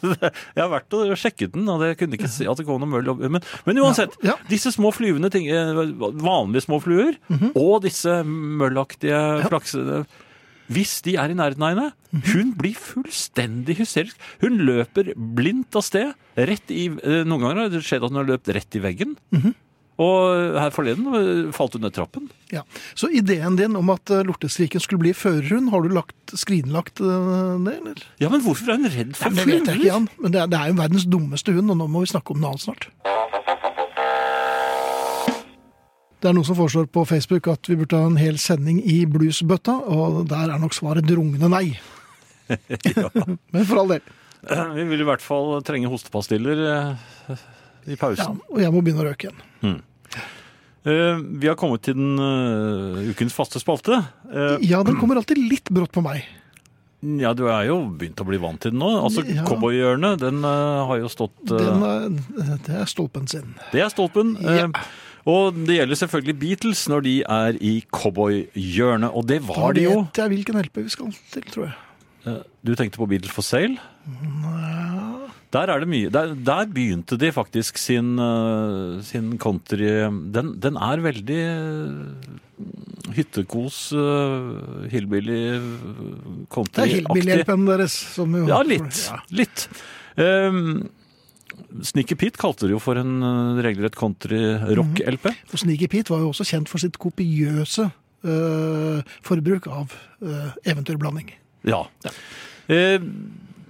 S2: Jeg har vært og sjekket den, og jeg kunne ikke se at det kom noe møll. opp- Men, men uansett,
S1: Ja, ja.
S2: disse små flyvende ting, eh, vanlige små fluer,
S1: Mhm.
S2: og disse møllaktige flaksene Hvis de er i nærheten av henne,
S1: Mhm.
S2: hun blir fullstendig hysterisk. Hun løper blindt av sted. Rett i, eh, noen ganger har det skjedd at hun har løpt rett i veggen.
S1: Mhm.
S2: Og her forleden eh, falt hun ned trappen.
S1: Ja. Så ideen din om at eh, lorteskriken skulle bli førerhund, har du lagt, skrinlagt eh, det, eller?
S2: Ja, men hvorfor er hun redd for
S1: Ja, det vet jeg ikke,
S2: fluer?
S1: Jan. Men det er, det er jo verdens dummeste hund, og nå må vi snakke om noe annet snart. Det er noen som foreslår på Facebook at vi burde ha en hel sending i bluesbøtta, og der er nok svaret rungende nei. Men for all del.
S2: Vi Eh, vil i hvert fall trenge hostepastiller eh, i pausen.
S1: Ja, og jeg må begynne å røyke igjen.
S2: Eh, vi har kommet til den eh, ukens faste spalte. Eh,
S1: Ja, den kommer alltid litt brått på meg.
S2: ja, du er jo begynt å bli vant til den nå. Altså,
S1: Ja.
S2: Cowboyhjørnet, den eh, har jo stått eh,
S1: Den er, det er stolpen sin.
S2: Det er stolpen. eh,
S1: Ja.
S2: og det gjelder selvfølgelig Beatles når de er i cowboyhjørnet, og det
S1: Da
S2: var de jo.
S1: vet jeg hvilken LP vi skal til, tror jeg.
S2: Eh, Du tenkte på Beatles for sale? Der er det mye. Der, der begynte de faktisk sin, eh, sin country den, den er veldig eh, hyttekos, eh, hillbilly, eh,
S1: Det er
S2: country-aktig.
S1: Hillbilly-LP-en deres. Som jo,
S2: Ja, litt.
S1: Ja.
S2: litt. Um, Snicker Pete kalte det jo for en eh, regelrett country-rock-LP.
S1: Og Sneaky Pete var jo også kjent for sitt kopiøse eh, forbruk av eh, eventyrblanding.
S2: Ja. Eh,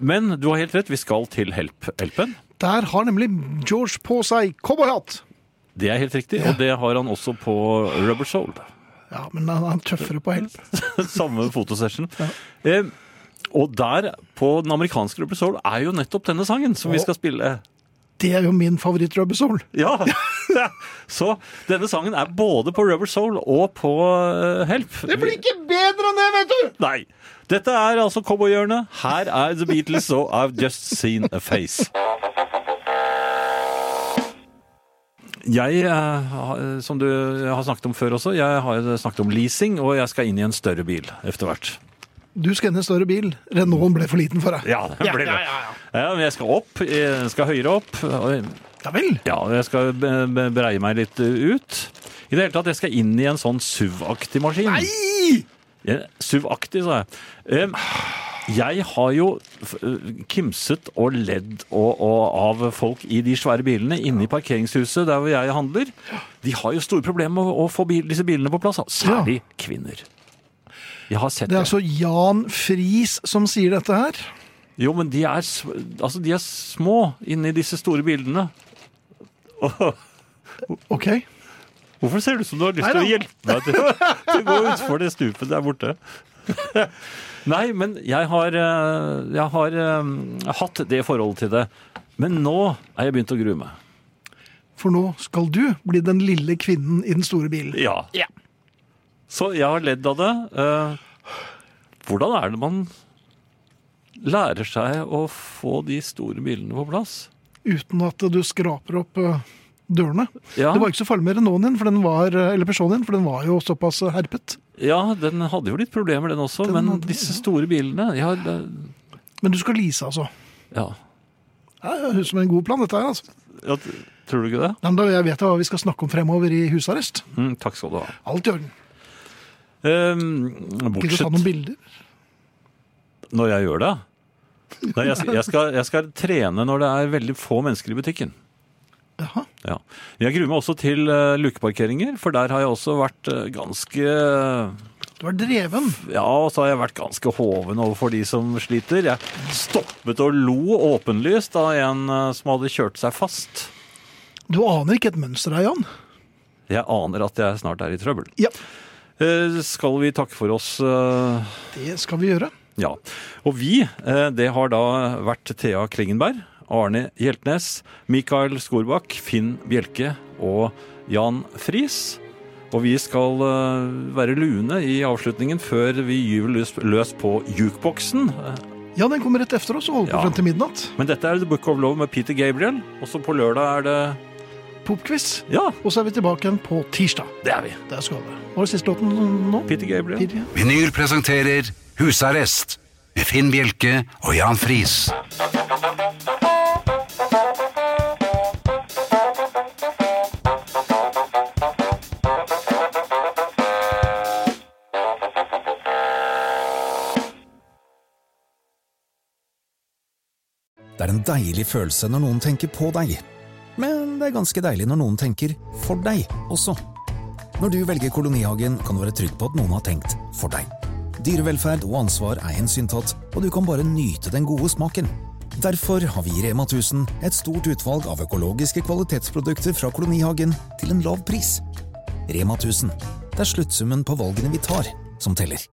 S2: men du har helt rett, vi skal til Help-LP-en.
S1: Der har nemlig George på seg cowboyhatt!
S2: Det er helt riktig, og det har han også på Rubber Soul.
S1: Ja, men han han er tøffere på help.
S2: Samme fotosession. Eh, og der, på den amerikanske Rubber Soul, er jo nettopp denne sangen som vi skal spille.
S1: Det er jo min favoritt-rubber soul.
S2: Ja! Så denne sangen er både på Rubber Soul og på eh, Help. Det blir ikke bedre enn det, vet du! Nei. Dette er altså cowboyhjørnet. Her er The Beatles og I've Just Seen a Face. Jeg, eh, har- som du har snakket om før også, jeg har snakket om leasing, og jeg skal inn i en større bil etter hvert.
S1: Du skal inn i en større bil. Renaulten ble for liten for deg.
S2: Ja, det blir det. Ja, men jeg skal opp, jeg skal høyere opp. og-
S1: Ja vel.
S2: Ja, jeg skal be- be- breie meg litt eh, ut. I det hele tatt, jeg skal inn i en sånn SUV-aktig maskin.
S1: Nei!
S2: Ja, SUV-aktig, sa jeg. Em, Jeg har jo f- eh, kimset og ledd og, og av folk i de svære bilene inne i parkeringshuset der hvor jeg handler. De har jo store problemer med å, å få bil, disse bilene på plass, da. særlig kvinner. Jeg har sett
S1: Det er altså Jan Friis som sier dette her.
S2: Jo, men de er, sm- altså, de er små inni disse store bildene.
S1: Ok.
S2: Hvorfor ser det ut som du har lyst til å
S1: Neida.
S2: hjelpe meg til, til å gå utfor det stupet der borte? Nei, men jeg har, eh, jeg har eh, hatt det forholdet til det. Men nå er jeg begynt å grue meg.
S1: For nå skal du bli den lille kvinnen i den store bilen.
S2: Ja. Så jeg har ledd av det. Eh, Hvordan er det man lærer seg å få de store bilene på plass?
S1: Uten at du skraper opp eh, dørene.
S2: Ja.
S1: Det var ikke så farlig med Renaulten din, for den var, eh, eller personen din, for den var jo såpass eh, herpet.
S2: Ja, den hadde jo litt problemer, den også.
S1: Den
S2: men
S1: hadde-
S2: disse store bilene jeg har, eh,
S1: Men du skal lease, altså.
S2: ja.
S1: Det høres ut som en god plan, dette her. altså.
S2: ja. Tror du ikke det?
S1: Nei, men da, jeg vet da hva vi skal snakke om fremover i husarrest.
S2: Mm, takk skal du ha.
S1: Alt i orden.
S2: Um,
S1: Gidder du ta noen
S2: bortsett
S1: bilder?
S2: når jeg gjør det. Nei, jeg, skal- jeg, skal, jeg skal trene når det er veldig få mennesker i butikken.
S1: Jaha.
S2: Ja. Jeg gruer meg også til eh, lukeparkeringer, for der har jeg også vært eh, ganske
S1: Du er dreven.
S2: Ja, og så har jeg vært ganske hoven overfor de som sliter. Jeg stoppet og lo åpenlyst av en eh, som hadde kjørt seg fast.
S1: Du aner ikke et mønster her, Jan.
S2: Jeg aner at jeg snart er i trøbbel.
S1: Ja,
S2: Eh, Skal vi takke for oss? eh,
S1: det skal vi gjøre.
S2: Ja. Og vi, eh, det har da vært Thea Klingenberg, Arne Hjeltnes, Mikael Skorbakk, Finn Bjelke og Jan Friis. Og vi skal eh, være lune i avslutningen før vi gyver løs- løs på jukeboksen. Eh,
S1: Ja, den kommer rett efter oss og holder på
S2: Ja.
S1: frem til midnatt.
S2: Men dette er The Book of Love med Peter Gabriel. Og så på lørdag er det
S1: Popquiz.
S2: Ja,
S1: Og så er vi tilbake igjen på tirsdag.
S2: det er vi.
S1: Der skal vi. Hva er siste låten nå?
S2: Peter Gabriel.
S1: Pir, ja.
S3: Vinyl presenterer Husarrest med Finn Bjelke og Jan Friis.
S6: Det er en deilig følelse når noen tenker på deg. Men det er ganske deilig når noen tenker for deg også. Når du velger kolonihagen, kan du være trygg på at noen har tenkt for deg. Dyrevelferd og ansvar er hensyntatt, og du kan bare nyte den gode smaken. Derfor har vi i Rema 1000 et stort utvalg av økologiske kvalitetsprodukter fra kolonihagen til en lav pris. Rema 1000. Det er sluttsummen på valgene vi tar, som teller.